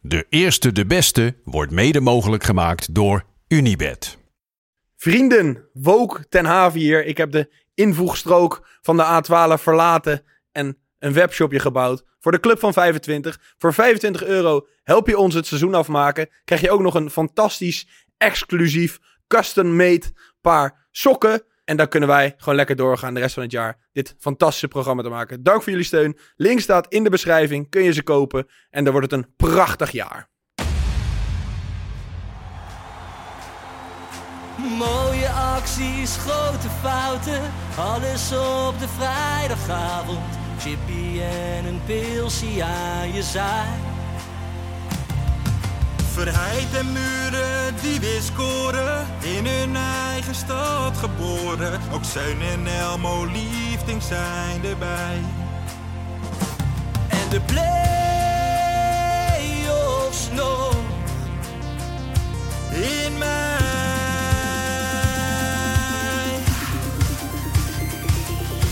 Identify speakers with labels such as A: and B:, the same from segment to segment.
A: De eerste, de beste wordt mede mogelijk gemaakt door Unibed.
B: Vrienden, Wook ten haven hier. Ik heb de invoegstrook van de A12 verlaten en een webshopje gebouwd voor de club van 25. Voor 25 euro help je ons het seizoen afmaken. Krijg je ook nog een fantastisch, exclusief, custom-made paar sokken. En dan kunnen wij gewoon lekker doorgaan de rest van het jaar dit fantastische programma te maken. Dank voor jullie steun. Link staat in de beschrijving. Kun je ze kopen. En dan wordt het een prachtig jaar.
C: Mooie acties, grote fouten, alles op de vrijdagavond. Chippy en een pilsie aan je zaai.
D: Verheid en muren die weer scoren, in hun eigen stad geboren. Ook Zeun en Elmo liefding zijn erbij.
C: En de play-offs nog.
D: In mij.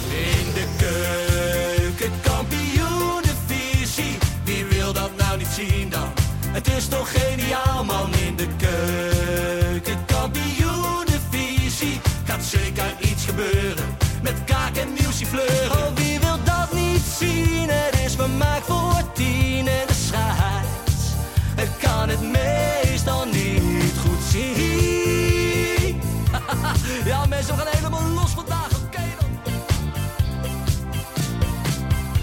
C: In de keuken, kampioenenvisie. Wie wil dat nou niet zien dan? Het is toch geniaal man in de keuken, kampioenenvisie. Gaat zeker iets gebeuren met kaak en nieuwsie fleuren. Oh, wie wil dat niet zien? Het is vermaakt voor tien en de scheids. Het kan het meestal niet goed zien. ja mensen, we gaan helemaal los vandaag, oké dan.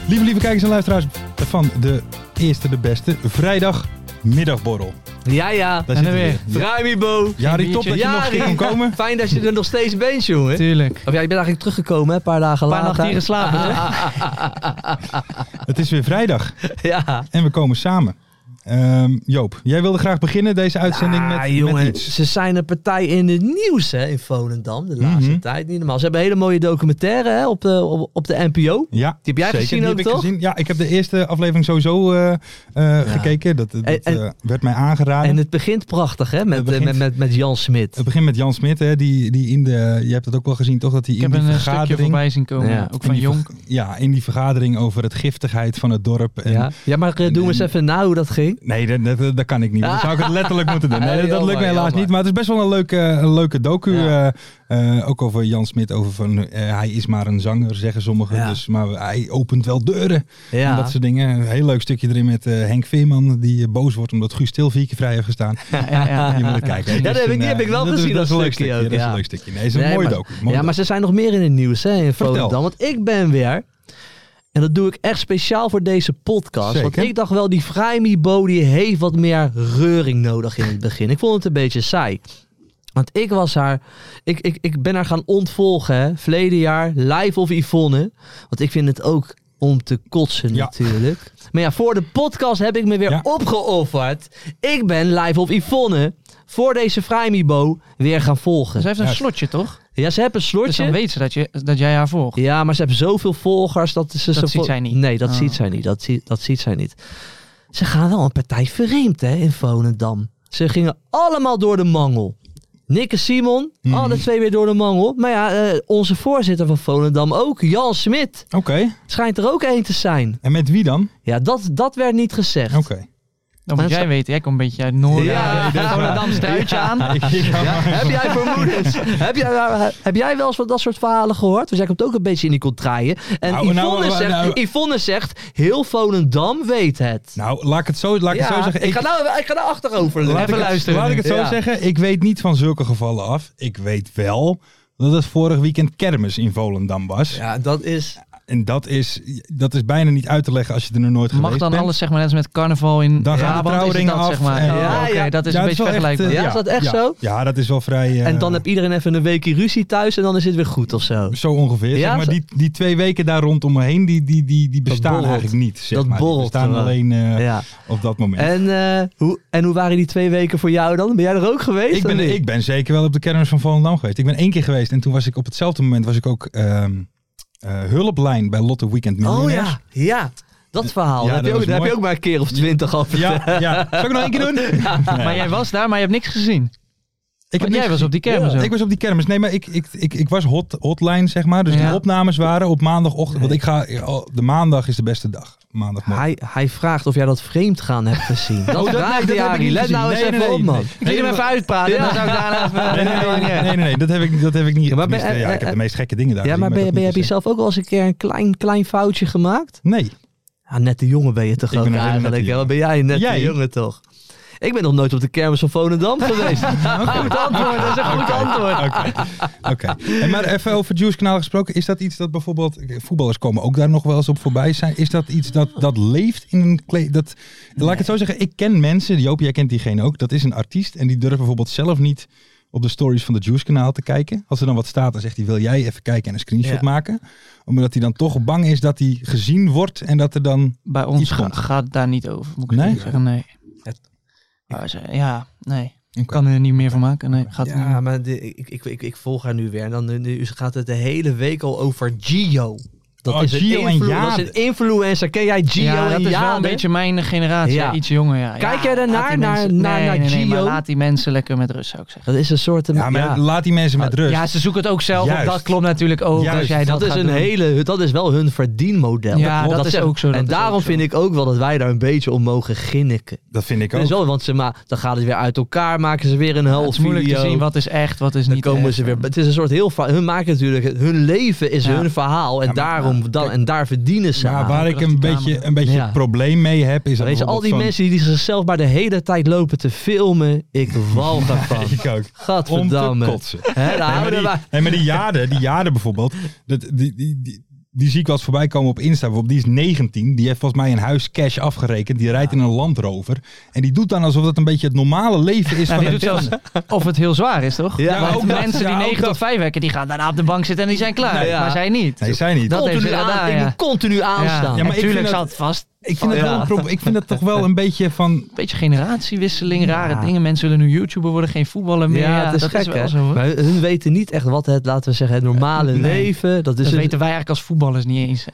E: Lieve, lieve kijkers en luisteraars van de Eerste de Beste Vrijdag middagborrel.
F: Ja, ja.
E: Daar
G: En
E: zitten
G: dan
E: we
G: weer.
E: weer. Ja.
F: Ruimie, Bo.
E: Jari, top dat je nog ging
F: Jari.
E: komen.
F: Fijn dat je er nog steeds bent, jongen.
G: Tuurlijk.
F: Of ja, je bent eigenlijk teruggekomen, hè, een paar dagen
G: Een
F: later.
G: paar nachten hier geslapen. hè?
E: Het is weer vrijdag
F: Ja.
E: en we komen samen. Ehm, Joop, jij wilde graag beginnen deze uitzending
F: Ah,
E: met,
F: jongen,
E: met iets.
F: ze zijn een partij in het nieuws hè, in Volendam de laatste
E: Mhm.
F: tijd. Niet normaal. Ze hebben een hele mooie documentaire hè, op, de, op, op de NPO.
E: Ja, die
F: heb jij gezien
E: die
F: ook,
E: heb
F: toch?
E: Ik gezien. Ja, ik heb de eerste aflevering sowieso eh, eh, gekeken. Dat, dat
F: En- en-
E: eh, werd mij aangeraden.
F: En het begint prachtig hè, met,
E: Het begint-
F: eh, met, met, met Jan Smit.
E: het begint met Jan Smit, hè, die, die in de, je hebt het ook wel gezien toch, dat hij
G: Ik
E: in
G: heb
E: die
G: een eh, stukje
E: vergadering,
G: voorbij zien komen.
F: Ja.
E: in
G: Ook van
E: die ver-
G: Jonk.
E: ja, in die vergadering over het giftigheid van het dorp. En,
F: Ja. ja, maar eh,
E: en-
F: doen we eens
E: en-
F: even na hoe dat ging.
E: Nee, dat, dat, dat kan ik niet. Dan zou ik het letterlijk moeten doen. Nee, dat,
F: Jammer,
E: lukt me helaas
F: jammer.
E: niet. Maar het is best wel een leuke, eh, een leuke docu.
F: Ja.
E: eh, eh, ook over Jan Smit. Over van, eh, hij is maar een zanger, zeggen sommigen.
F: Ja.
E: Dus, maar hij opent wel deuren. En
F: Ja.
E: dat soort dingen. Een heel leuk stukje erin met eh, Henk Veerman. Die eh, boos wordt omdat Guus Til vier keer vrij heeft gestaan.
G: Ja, ja,
E: Je moet
G: ja.
E: het kijken. hè.
F: Ja,
E: Dat
F: dat
E: is
F: heb ik- die
E: een,
F: heb ik wel
E: eh, dat-
F: gezien,
E: Dat is
F: dat
E: een leuk
F: stukje
E: stukje.
F: ook,
E: Dat is
F: ja.
E: een leuk stukje. Nee, het is een
F: Nee,
E: mooi
F: maar-
E: docu. Mooi
F: ja, maar
E: docu.
F: ze zijn nog meer in het nieuws hè, in
E: Vertel.
F: Volendam. Want ik ben weer. En dat doe ik echt speciaal voor deze podcast.
E: Zeker.
F: Want ik dacht wel, die Vrijmibo die heeft wat meer reuring nodig in het begin. Ik vond het een beetje saai. Want ik was haar, ik, ik, ik ben haar gaan ontvolgen, hè. Verleden jaar, live of Yvonne. Want ik vind het ook om te kotsen
E: Ja.
F: natuurlijk. Maar ja, voor de podcast heb ik me weer
E: Ja.
F: opgeofferd. Ik ben live of Yvonne voor deze Vrijmibo weer gaan volgen.
G: Ze heeft een
E: Juist.
G: slotje, toch?
F: Ja, ze hebben een
G: Dus dan
F: slotje.
G: weet ze dat, je, dat jij haar volgt.
F: Ja, maar ze hebben zoveel volgers dat ze... ze
G: Dat ziet
F: vol-
G: zij niet.
F: Nee, dat
G: Oh.
F: ziet zij niet. Dat, zie- dat ziet zij niet. Ze gaan wel een partij verreemd, hè, in Volendam. Ze gingen allemaal door de mangel. Nick en Simon,
E: Mhm.
F: alle twee weer door de mangel. Maar ja, eh, onze voorzitter van Volendam ook, Jan Smit,
E: Oké.
F: schijnt er ook één te zijn.
E: En met wie dan?
F: Ja, dat, dat werd niet gezegd.
E: Oké.
G: Dan
F: Maar
G: moet
F: ze-
G: jij weten, jij komt een beetje uit Noorden.
F: Ja,
G: Ja, Volendam struitje aan.
F: Ja, heb jij vermoedens? heb, jij, eh, heb jij wel eens van dat soort verhalen gehoord? Dus jij komt ook een beetje in die contraien. En
E: Nou,
F: Yvonne,
E: nou, nou,
F: zegt,
E: nou.
F: Yvonne zegt, heel Volendam weet het.
E: Nou, laat ik het zo, laat ik het
F: Ja,
E: zo zeggen.
F: ik, ga nou, ik ga nou achterover
E: Laat
F: liggen.
E: ik het-
G: luisteren
E: Laat
G: nu.
E: ik het zo
F: Ja.
E: zeggen. Ik weet niet van zulke gevallen af. Ik weet wel dat het vorig weekend kermis in Volendam was.
F: Ja, dat is...
E: en dat is, dat is bijna niet uit te leggen als je er nog nooit
C: Mag
E: geweest
C: dan
E: bent.
C: alles, zeg maar, net als met carnaval in
E: Dan gaan de
C: Brabant, is
E: trouwringen
C: het dat,
E: af
C: Zeg maar.
E: en-
C: Oh,
F: Ja,
C: Oké,
F: ja.
C: dat is
E: Ja,
C: een
E: het
C: beetje
E: wel echt,
C: vergelijkbaar.
E: eh,
F: Ja, is dat echt
E: ja.
F: zo?
E: Ja, dat is wel vrij... eh,
F: En dan heb iedereen even een weekje ruzie thuis en dan is het weer goed of zo.
E: Zo ongeveer.
F: Ja,
E: zeg maar
F: zo-
E: die, die twee weken daar rondomheen, die, die, die, die bestaan
F: borrelt.
E: eigenlijk niet. Zeg
F: Dat
E: maar.
F: borrelt
E: Die bestaan
F: er wel.
E: alleen eh,
F: Ja.
E: op dat moment.
F: En, eh, hoe, en hoe waren die twee weken voor jou dan? Ben jij er ook geweest?
E: ik,
F: of
E: ben,
F: niet?
E: ik ben zeker wel op de kermis van Volendam geweest. Ik ben één keer geweest en toen was ik op hetzelfde moment was ik ook ehm, eh, hulplijn bij Lotte Weekend
F: Oh
E: Millionaires.
F: ja, ja. Dat
E: Ja,
F: verhaal. daar heb,
E: dat
F: je ook,
E: was
F: daar heb je
E: mooi.
F: ook maar een keer of twintig over.
E: Ja, ja. Zal ik nog één keer doen? Nee.
C: Maar jij was daar, maar je hebt niks gezien.
E: ik
C: Want
E: niks
C: jij was op die kermis
E: Ja,
C: ook.
E: Ik was op die kermis. Nee, maar ik, ik, ik, ik was hot, hotline, zeg maar. Dus
C: Ja.
E: de opnames waren op maandagochtend. Want ik ga, eh, de maandag is de beste dag. Maandagmorgen.
F: Hij, hij vraagt of jij dat vreemd gaan hebt gezien. Dat vraagt
E: nee, Oh, dat heb ik
F: Jari.
E: niet
F: Let
E: gezien.
F: nou eens
E: Nee,
F: even
E: nee,
F: op,
E: nee,
F: man.
E: nee.
C: Wil je hem even uitpraten? Dan zou ik daarna even...
E: Nee, nee, nee, nee, nee, nee, nee, dat heb ik, niet- dat heb ik niet.
F: Ah, maar ben-
E: Tenminste, ja,
F: eh,
E: ik heb
F: eh,
E: de meest gekke dingen daar
F: Ja, maar
E: gezien,
F: ben, je- ben, je- heb
E: dat
F: je
E: moet
F: zelf ook wel eens een keer een klein, klein foutje gemaakt?
E: ik zeggen.
F: Ja, net de jongen ben je toch
E: Ik
F: ook
E: ben een hele nette
F: eigenlijk. hè? Wat
E: jongen.
F: ben jij net
E: Jij?
F: de jongen toch? Ik ben nog nooit op de kermis van Volendam geweest. Goed antwoord, dat is een goed antwoord.
E: Nee. Oké. Oké. En Maar even over Juice Kanaal gesproken. Is dat iets dat bijvoorbeeld... Voetballers komen ook daar nog wel eens op voorbij zijn. Is dat iets dat, dat leeft in een kle- Dat, Laat ik het zo zeggen. Ik ken mensen. Joop, jij kent diegene ook. Dat is een artiest. En die durft bijvoorbeeld zelf niet op de stories van de Juice Kanaal te kijken. Als er dan wat staat, dan zegt hij... Wil jij even kijken en een screenshot
F: Ja.
E: maken? Omdat hij dan toch bang is dat hij gezien wordt. En dat er dan...
C: Bij ons
E: Iets
C: ga-
E: komt.
C: gaat het daar niet over, moet ik
E: Nee?
C: eerlijk zeggen. Nee.
E: Het-
C: Maar ze- Ja, nee. Kan er niet meer van maken. Nee, gaat er niet.
F: Ja, maar de- ik, ik, ik, ik volg haar nu weer. En dan nu- nu gaat het de hele week al over Gio. Dat,
E: Oh,
F: is, een
E: Gio en
F: influ- dat
E: Jade.
F: is een influencer. Ken jij Gio
C: ja, dat
F: en
C: is wel een
F: Jade?
C: beetje mijn generatie.
F: Ja.
C: Iets jonger, ja.
F: Kijk
C: Ja,
F: jij daarnaar,
C: laat die
F: naar-
C: mensen-
F: naar-
C: nee,
F: naar
C: nee, nee, maar
F: Gio?
C: laat die mensen lekker met rust, zou ik zeggen.
F: Dat is een soort...
E: Ja, maar
F: ja.
E: laat die mensen met rust.
C: Ja, ze zoeken het ook zelf op.
E: Juist.
C: Dat klopt natuurlijk ook.
E: Juist.
C: Als jij dat,
F: dat is
C: gaat
F: een
C: doen.
F: hele, dat is wel hun verdienmodel.
C: Ja, dat is
F: zeg-
C: ook zo, dat
F: En
C: is
F: daarom
C: ook zo.
F: vind ik ook wel dat wij daar een beetje om mogen ginniken.
E: Dat vind ik
F: Dat
E: ook.
F: is wel, want ze maar, dan gaat het weer uit elkaar, maken ze weer een
C: Het
F: half
C: is moeilijk
F: video.
C: te zien wat is echt, wat is
F: dan
C: niet
F: komen
C: echt.
F: ze weer. Het is een soort heel. va- Hun maken natuurlijk. Hun leven is
C: Ja.
F: hun verhaal. En,
E: Ja, maar-
F: daarom, dan, en daar verdienen ze.
E: Maar
F: aan.
E: waar ik een
C: krachtige
E: beetje,
C: camera.
E: een beetje
F: Ja.
E: probleem mee heb, is dat
F: Weet je, al die
E: bijvoorbeeld
F: mensen die zichzelf maar de hele tijd lopen te filmen. Ik walg ervan.
E: zo'n- Ik ook. Om te
F: Gadverdamme.
E: kotsen.
F: Hè, daar
E: Nee, maar
F: houden
E: die,
F: we-
E: nee, maar die jade, die jade bijvoorbeeld, dat, die, die, die, die zie ik wel eens voorbij komen op Insta. Bijvoorbeeld, die is 19, die heeft volgens mij een huis cash afgerekend. Die rijdt in een landrover. En die doet dan alsof dat een beetje het normale leven is
C: Ja,
E: van
C: die
E: een
C: doet zelfs of het heel zwaar is, toch?
F: Ja,
C: Ja,
E: maar
C: Want
E: ook dat,
C: mensen
E: ja,
C: die
E: ook
C: 9
E: dat.
C: tot 5 werken, die gaan daarna op de bank zitten en die zijn klaar.
F: Nee, ja.
C: Maar zij niet.
E: Nee, zij niet.
C: Dat heeft
F: Continu
C: ze
F: aan-
C: gedaan,
F: ik
C: ja.
F: moet continu aanstaan.
E: Ja, maar ik vind
C: Natuurlijk
E: dat-
C: zat vast.
E: Ik vind, dat
F: Ja.
E: wel een proble- ik vind dat toch wel een beetje van...
C: Een beetje generatiewisseling, rare
F: Ja.
C: dingen. Mensen willen nu YouTuber worden, geen voetballer meer.
F: Ja, het is
C: dat
F: gek,
C: is wel
F: hè?
C: zo. hoor.
F: Maar hun- hun weten niet echt wat het, laten we zeggen, het normale
C: nee.
F: leven. Dat is
C: dat
F: een-
C: weten wij eigenlijk als voetballers niet eens. hè.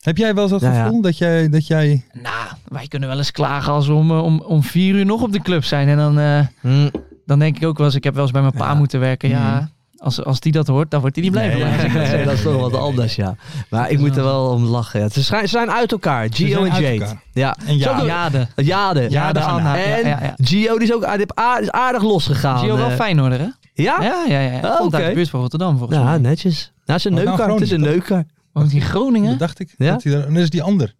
E: Heb jij wel eens dat
F: Ja, ja.
E: gevoel dat jij... Dat jij
C: Nou, wij kunnen wel eens klagen als we om, eh, om, om vier uur nog op de club zijn. En dan, eh,
E: Hmm.
F: Hm.
C: dan denk ik ook wel eens, ik heb wel eens bij mijn pa moeten werken. Ja, als, als die dat hoort, dan wordt hij niet blij van.
F: Nee,
C: Als ik dat zeg.
F: dat is toch wat anders, ja. Maar ik moet er wel om lachen. ja. Ze schijn- ze zijn uit elkaar. Gio
E: zijn
F: en
E: uit
F: Jade.
E: elkaar.
F: Ja.
E: en ja,
F: Zo-
C: Jade.
F: Jade.
C: Jade Anna.
F: En
C: Ja, ja, ja.
F: Gio die is ook aardig, aardig, aardig losgegaan.
C: Zie je wel
E: Ah,
F: eh.
C: fijn hoor, hè?
F: Ja? Ja,
C: Ja, ja, ja.
F: Ah,
C: Komt uit
F: oké.
C: de buurt van Rotterdam volgens mij.
F: netjes. Nou, ze is een
E: Wat nou,
F: neuker. Het is een neuker.
C: Woont hij in Groningen?
E: dat dacht ik.
F: Ja?
E: Dat, hij daar, en dat is die ander.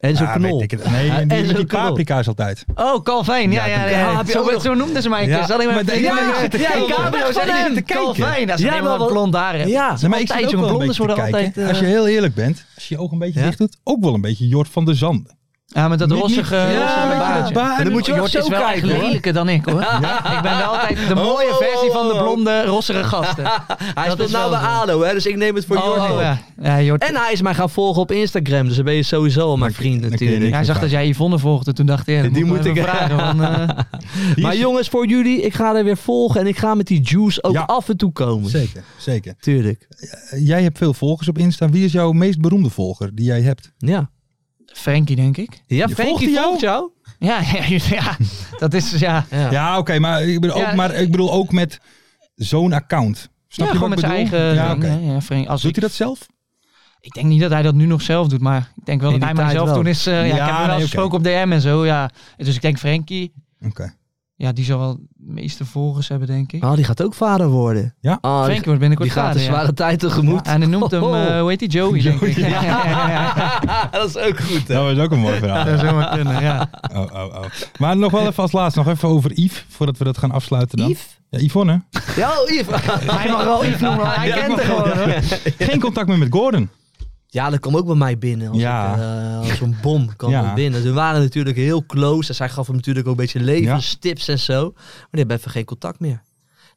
F: En zo'n
E: Ja,
F: knol.
E: weet ik het. Nee, en die,
F: En
E: met
F: zo'n
E: die
F: knol.
E: paprika's altijd.
C: Oh, Calvin. Ja, ja, ja.
F: Ja, heb je ook
C: Zo,
F: nog-
C: zo noemden ze mij een
E: Ja,
C: keer. Ze hadden
E: maar
C: mijn
E: die- ja,
C: ja,
E: zitten
C: ja,
E: kijken.
C: ik cabrio.
E: Weg van
C: Ze
E: hem,
C: hadden
E: te kijken.
C: Calvin. Dat is
F: Ja,
C: helemaal
F: maar wat-
C: blond haar. hebben.
F: Ja.
E: Nee, maar
C: Altijd
E: ik zit ook
C: jonge
E: wel een
C: blondes
E: beetje te
C: worden
E: kijken.
C: altijd, eh,
E: Als je heel eerlijk bent, als je je oog een beetje
F: Ja?
E: dicht doet, ook wel een beetje Jort van der Zanden.
C: Ja, met dat
E: Niet- niet-
C: rossige,
E: Ja,
C: rossige
E: weet je, dat
C: baardje.
E: baard-
F: Maar dan moet je wel
C: Jort
F: zo
C: is wel echt
F: kijken, hoor.
C: lelijker dan ik, hoor. Ik ben wel altijd de mooie
F: oh,
C: versie van de
F: oh.
C: blonde, rossige gasten.
F: Hij
C: dat
F: speelt
C: is
F: nou bij
C: wel zo.
F: ADO, hè, dus ik neem het voor
C: Oh,
F: Jordi.
C: oh, ja. Ja, Jort.
F: En hij is mij gaan volgen op Instagram, dus dan ben je sowieso al mijn
E: Dan-
F: vriend
E: dan kun je
F: natuurlijk.
C: hij zag dat jij Yvonne volgde, toen dacht hij, ja, dat
F: Die
C: moet ik
F: moet
C: wel
F: ik-
C: even vragen. want, eh,
E: Die
F: Maar
E: is-
F: jongens, voor jullie, ik ga er weer volgen en ik ga met die juice ook
E: Ja.
F: af en toe komen.
E: Zeker, zeker.
F: Tuurlijk.
E: Eh, Jij hebt veel volgers op Insta. Wie is jouw meest beroemde volger die jij hebt?
F: Ja.
C: Frankie, denk ik.
F: Ja,
E: Je volgt
F: Frankie
E: die
F: volgt jou?
C: Ja, ja, ja, dat is, ja.
F: Ja.
E: Ja, oké, maar, ik bedoel
C: Ja. eh,
E: ook- maar ik bedoel ook met zo'n account. Snap
C: ja,
E: je
C: gewoon
E: wat
C: met
E: ik
C: zijn
E: bedoel?
C: eigen... eh,
E: Ja,
C: ding,
E: oké.
C: hè. Ja, Frank- als
E: Doet
C: ik,
E: hij dat zelf?
C: ik denk niet dat hij dat nu nog zelf doet, maar ik denk wel
F: In
C: dat hij
F: die
C: maar
F: tijd
C: zelf
F: wel.
C: toen is... eh, ja, ik
E: Ja,
C: heb hem wel
E: nee,
C: gesproken op DM en zo, ja. Dus ik denk Frankie,
E: Oké.
C: ja, die zal wel de meeste volgers hebben, denk ik.
F: Oh, die gaat ook vader worden.
E: Ja?
F: Oh, die,
C: Frankie wordt binnenkort
F: die gaat een
C: vader, ja.
F: zware tijd tegemoet.
C: Ja, en hij noemt hem,
F: Oh.
C: eh, hoe heet die, Joey, denk ik. Ja, ja, ja, ja.
F: dat is ook goed.
E: Nou, Dat was ook een mooi verhaal.
C: Dat zou zomaar kunnen, ja.
E: Oh, oh, oh. Maar nog wel even als laatste, nog even over Yves, voordat we dat gaan afsluiten dan.
F: Yves?
E: Ja, Yvonne.
F: Ja, oh, Yves.
C: Hij mag wel iets noemen, hij kent er gewoon. hoor.
E: Geen contact meer met Gordon.
F: Ja, dat kwam ook bij mij binnen. Als
E: Ja.
F: ik, eh, als een bom kwam
E: Ja.
F: dat binnen. Ze waren natuurlijk heel close. En zij gaf hem natuurlijk ook een beetje levenstips en zo. Maar die hebben even geen contact meer.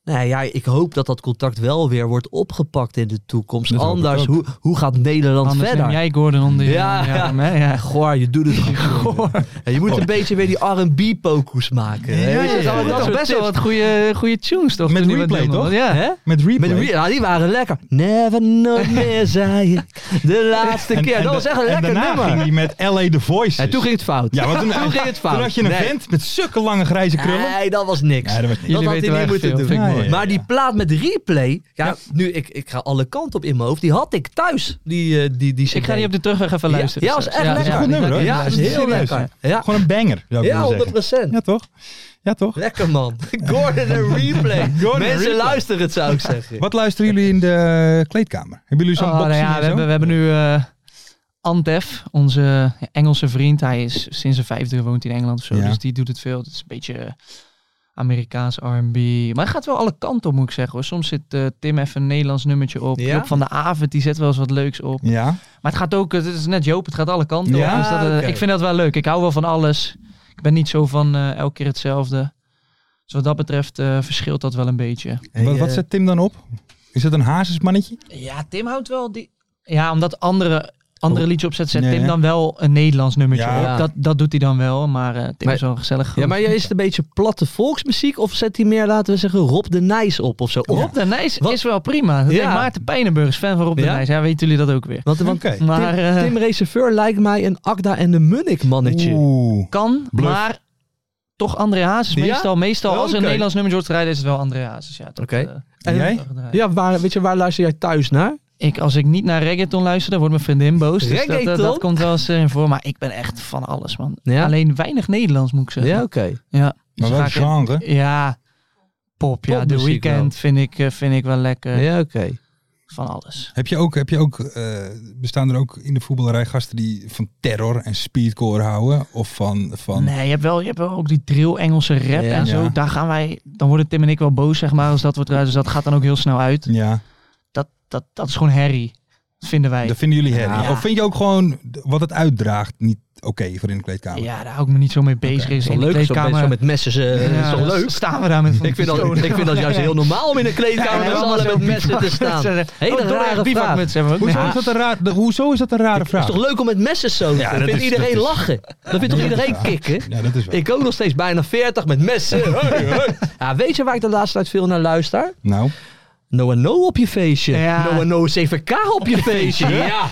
F: Nou ja, ik hoop dat dat contact wel weer wordt opgepakt in de toekomst.
E: Dat hoop ik
F: Anders,
E: ook.
F: hoe, hoe gaat Nederland
G: Anders
F: verder?
G: neem jij Gordon onder je
F: Ja,
G: onder je
F: ja.
G: arm, hè? Ja.
F: Goor, je doet het goed.
G: Goor.
F: Ja, je moet een beetje weer die R&B-pokoes maken. hè?
E: Ja, ja,
F: Dat is
E: ja.
F: allemaal-
G: Dat
F: dat
G: was
F: is
G: best wel wat goede, goede tunes, toch?
E: Met
G: Toen die wat
E: replay,
G: deden,
E: toch?
G: Ja.
F: Hè?
E: Met replay.
F: Met de re- ja, die waren lekker. Never, nooit meer, zei ik. De laatste
E: En-
F: keer.
E: en
F: dat
E: da-
F: was echt een lekker
E: En daarna
F: nummer.
E: ging hij met LA The Voice.
F: En toen ging het fout.
E: ja, want toen,
F: toen ging het fout.
E: Toen had je een
F: Nee.
E: vent met zulke lange grijze krullen.
F: Nee, dat was niks.
E: Ja, dat was niks.
G: Jullie
F: had
G: weten
F: hij
G: wel
F: niet
G: echt
F: moeten doen.
G: veel, vind ik
E: Ja,
G: mooi.
E: ja, ja.
F: Maar die plaat met replay, ja,
E: Ja.
F: nu ik, ik ga alle kanten op in mijn hoofd, die had ik thuis. Die, eh, die, die
G: Ik ga die op de terugweg even
F: Ja,
G: luisteren.
F: ja, was
G: straks.
F: echt
E: Dat is
F: lekker.
E: een goed
G: die
E: nummer
G: ga
E: hoor.
G: ik
F: Ja, dat is heel
E: Serieus,
F: lekker. Ja.
E: Gewoon een banger, zou ik
F: Ja,
E: willen
F: 100
E: zeggen. Ja, toch? Ja, toch?
F: Lekker man. Gordon en replay.
E: Gordon en
F: Mensen
E: replay.
F: luisteren het zou ik zeggen.
E: Wat luisteren jullie in de kleedkamer? Hebben jullie zo'n
G: Oh, nou
E: boxing
G: ja,
E: en
G: we,
E: zo?
G: hebben, we hebben nu eh, Antef, onze Engelse vriend. Hij is sinds zijn vijfde woont in Engeland of zo.
E: Ja.
G: Dus die doet het veel. Het is een beetje eh, Amerikaans R&B. Maar hij gaat wel alle kanten op, moet ik zeggen. Hoor. Soms zit eh, Tim even een Nederlands nummertje op.
F: Ja?
G: Job van de Avond, die zet wel eens wat leuks op.
E: Ja,
G: Maar het gaat ook, eh, het is net Joop, het gaat alle kanten
E: Ja,
G: op. Dus dat, eh,
F: oké.
G: Ik vind dat wel leuk. Ik hou wel van alles. Ik ben niet zo van eh, elke keer hetzelfde. Dus wat dat betreft eh, verschilt dat wel een beetje.
E: wat, wat
F: eh,
E: zet Tim dan op? Is dat een hazesmannetje?
G: Ja, Tim houdt wel die... Ja, omdat andere, andere liedjes opzet, zet
E: Nee,
G: Tim
E: hè?
G: dan wel een Nederlands nummertje
E: Ja.
G: op. Dat, dat doet hij dan wel, maar eh, Tim
F: Maar-
G: is wel een gezellig.
F: Ja, maar is het een beetje platte volksmuziek of zet hij meer, laten we zeggen, Rob de Nijs op of zo? Of-
G: Rob de Nijs
F: Wat-
G: is wel prima. Dat
F: Ja.
G: deed Maarten Pijnenburg is fan van Rob de
F: Ja?
G: Nijs. Ja, weten jullie dat ook weer.
F: Want, want
E: Oké.
G: Maar
F: Tim,
G: eh,
F: Tim Reserveur lijkt mij een Agda en de Munnik mannetje.
E: Oeh.
G: kan,
E: Bluff.
G: maar toch André Hazes.
F: Ja?
G: Meestal, meestal als er een
F: Oké.
G: Nederlands nummer wordt gedraaid, is het wel André Hazes. Ja, dat,
F: Oké.
G: eh,
E: En
G: dat
E: jij?
G: wordt gedraaid.
F: Ja, waar, weet je, waar luister jij thuis naar?
G: Ik, als ik niet naar reggaeton luister, dan wordt mijn vriendin boos. Dus dat, eh, dat,
F: Reggaeton?
G: komt wel eens eh, in voor. Maar ik ben echt van alles, man.
F: Ja?
G: Alleen weinig Nederlands, moet ik zeggen.
F: Ja,
G: Ja.
F: oké.
E: Maar
G: Dus
E: welk
G: vaak in-
E: genre?
G: Ja, pop. Ja, The
F: Popmuziek
G: Weeknd vind ik, eh, vind ik wel lekker.
F: Ja, oké.
G: Van alles.
E: Heb je ook, heb je ook eh, bestaan er ook in de voetballerij gasten die van terror en speedcore houden? Of van, van
G: Nee, je hebt wel, je hebt wel ook die drill Engelse rap
F: Ja.
G: en zo.
E: Ja.
G: Daar gaan wij, dan worden Tim en ik wel boos, zeg maar, als dat wordt eruit. Dus dat gaat dan ook heel snel uit.
E: ja,
G: Dat, dat, dat is gewoon herrie. Dat vinden wij.
E: dat vinden jullie herrie.
G: Ja.
E: Of vind je ook gewoon d- wat het uitdraagt niet oké voor in de kleedkamer?
G: Ja, daar hou ik me niet zo mee bezig. Is
F: Zo
G: in de
F: leuk, zo, met,
G: kleedkamer.
F: zo met messen. eh,
G: Ja,
F: is toch
G: dan
F: leuk?
G: Staan we daar met van die
F: Ik vind, dat,
G: pistolen.
F: ik vind dat juist heel normaal om in een kleedkamer
G: Ja,
F: met z'n
G: allemaal
F: allen
G: zo'n
F: met messen te staan.
G: Ze zeggen,
F: Hele
G: oh, door
F: rare
G: een bivakmuts hebben we ook.
E: Hoezo,
G: Ja.
E: is dat een raar, de- hoezo is dat een rare
F: Het is
E: vraag?
F: toch leuk om met messen zo te
E: Ja,
F: staan?
E: dat
F: Dat vindt
E: is-
F: iedereen
E: dat is-
F: lachen? Dat vindt toch iedereen
E: Ja.
F: kicken?
E: Ja, dat is wel.
F: Ik ook nog steeds bijna 40 met messen. Hey, hey. Ja, weet je waar ik de laatste tijd veel naar luister?
E: Nou,
F: No and No op je feestje.
G: Ja.
F: No and No CVK op je feestje. Ja.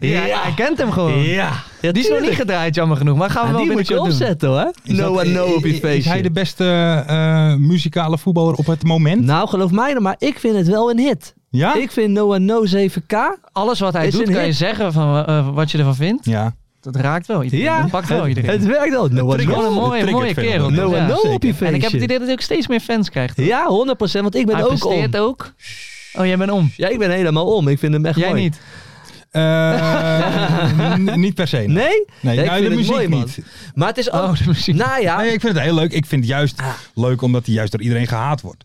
G: Ja, ja, hij kent hem gewoon.
F: Ja. Ja,
G: Die is nog niet gedraaid, jammer genoeg. Maar gaan we
F: En
G: wel
F: die moet je
G: binnenkort doen.
F: opzetten hoor.
E: is
F: No
E: dat-
F: and No op
E: i- i-
F: je
E: Is hij de
F: feestje.
E: beste eh, muzikale voetballer op het moment?
F: Nou, geloof mij dan maar, ik vind het wel een hit.
E: ja?
F: Ik vind No and No 7K.
G: Alles wat hij
F: Is
G: doet,
F: een
G: kan je
F: hit.
G: zeggen van, eh, wat je ervan vindt.
E: ja.
G: Dat raakt wel iedereen.
F: Ja.
G: Dat pakt wel iedereen.
F: Het werkt wel. No and
G: is gewoon
F: No.
G: een mooie,
E: triggert
G: mooie
E: veel
G: kerel.
E: mensen.
F: No
G: Ja.
F: and No op je
G: En ik heb het
F: feestje.
G: idee dat hij ook steeds meer fans krijgt.
F: Ja, 100%, want ik ben
G: hij
F: ook om.
G: presteert ook. Oh, jij bent om.
F: Ja, ik ben helemaal om. Ik vind hem echt
G: Jij
F: mooi.
G: niet.
E: Eh, n- niet per se. nee.
F: Nee?
E: Nee,
F: Ja, ik
E: nou,
F: vind
E: de
F: het
E: muziek
F: mooi, man.
E: niet.
F: Maar het is ook...
G: Oh, de muziek.
F: Nou ja, Ah.
E: Nee, ik vind het heel leuk. Ik vind het juist leuk omdat hij juist door iedereen gehaat wordt.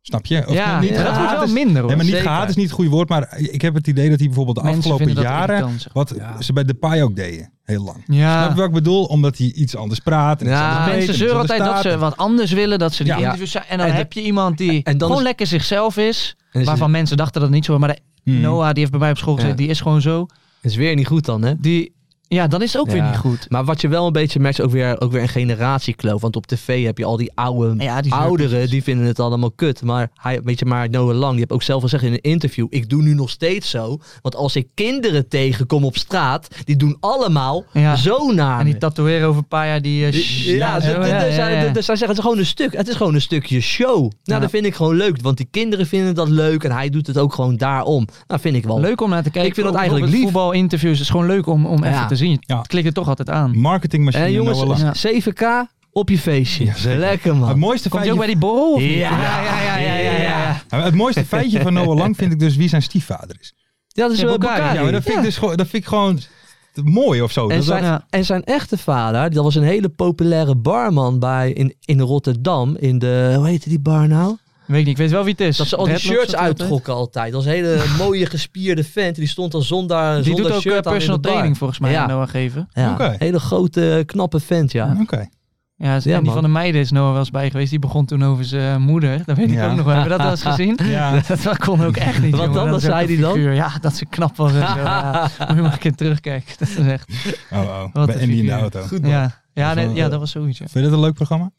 E: Snap je? Of
G: Ja,
E: niet
G: ja, dat
E: gehaat
G: wordt wel
E: is-
G: minder, hoor.
E: Nee, maar niet
F: Zeker.
E: gehaat is niet het goede woord. Maar ik heb het idee dat hij bijvoorbeeld de
G: Mensen
E: afgelopen
G: vinden dat
E: jaren...
G: irritant, zeg
E: wat ze bij Depay ook deden. Heel lang.
G: Ja.
E: Snap je wat ik bedoel? Omdat hij iets anders praat. En iets
F: Ja,
E: anders
G: Maar
E: weet en
G: mensen
E: iets
G: zeuren
E: anders
G: altijd dat
E: staat.
G: ze wat anders willen, dat ze die
E: Ja.
G: interviews zijn. En dan
F: En de-
G: heb je iemand die
F: en dan
G: gewoon
F: is-
G: lekker zichzelf is,
F: En is-
G: waarvan mensen dachten dat het niet zo was. Maar de-
E: Hmm.
G: Noah, die heeft bij mij op school gezeten,
F: Ja.
G: die is gewoon zo.
F: is weer niet goed dan, hè?
G: Die, ja, dan is het ook weer
F: Ja.
G: niet goed.
F: Maar wat je wel een beetje merkt, is ook weer, ook weer een generatiekloof. Want op tv heb je al die oude
G: Ja, die zijn-
F: ouderen, die vinden het allemaal kut. Maar hij, weet je, maar Noah Lang, die heeft ook zelf gezegd in een interview, ik doe nu nog steeds zo. Want als ik kinderen tegenkom op straat, die doen allemaal
G: Ja.
F: zo naar
G: En
F: me.
G: die tatoeëren over een paar jaar, die... eh, sh-
F: Ja,
G: zo,
F: d- d- dus hij- d- dus hij zegt, het is gewoon een stuk. Het is gewoon een stukje show. Nou,
G: Ja.
F: dat vind ik gewoon leuk. Want die kinderen vinden dat leuk en hij doet het ook gewoon daarom. Nou, vind ik wel
G: Leuk om naar te kijken.
F: Ik vind dat
G: Ook
F: eigenlijk
G: op het
F: lief.
G: Voetbalinterviews is gewoon leuk om, om
F: Ja.
G: even te zien.
E: Ja.
G: Het klikt er toch altijd aan.
E: Marketingmachine
F: En jongens,
E: Noah Lang.
G: Ja.
F: 7K op je feestje.
E: Ja, zeker.
F: Lekker man.
E: Het mooiste
G: Komt je ook bij
E: feitje...
G: die borrel? of niet?
F: Ja.
G: ja, ja, ja, ja, ja.
E: Het mooiste feitje van Noah Lang vind ik dus wie zijn stiefvader is.
F: Ja, dat is
G: Ja,
F: wel
G: Bokkari.
F: Bokkari.
E: Ja, maar dat vind ik
F: Ja.
E: dus gewoon, dat vind ik gewoon mooi of zo.
F: En
E: Dat-
F: zijn,
E: dat-
G: ja.
F: en zijn echte vader, dat was een hele populaire barman bij, in, in Rotterdam. In de, hoe heette die bar nou?
G: Weet ik niet. Ik weet wel wie het is.
F: Dat ze al die
G: Dreadlocks
F: shirts
G: had hij altijd.
F: uittrokken altijd. Dat was een hele mooie gespierde vent. Die stond dan zonder,
G: Die
F: zonder
G: doet ook eh,
F: shirt aan in
G: personal
F: de bar.
G: training volgens mij
F: Ja.
G: aan Noah geven.
F: Ja,
E: Oké.
F: hele grote, knappe vent, ja.
E: Oké.
G: Ja, en
F: Ja,
G: die
F: man.
G: van de meiden is Noah wel eens bij geweest. Die begon toen over zijn moeder. Dat weet ik
E: Ja.
G: ook nog wel. Hebben we dat wel eens gezien?
E: Ja.
G: Dat kon ook echt niet.
F: Wat
G: jongen.
F: dan?
G: Dat
F: Wat
G: is ook
F: zei
G: een
F: die dan?
G: figuur. Ja, dat ze knap was. En zo. Ja, moet je maar een keer terugkijken. Dat is echt.
E: Oh, oh.
G: Wat
E: Bij
G: een
E: Andy in de
G: figuur.
E: auto. Vind
G: Ja, ja,
E: Dat is
G: nee,
E: wel,
G: ja,
E: eh,
G: dat was zoiets. ja.
E: je dat een leuk programma?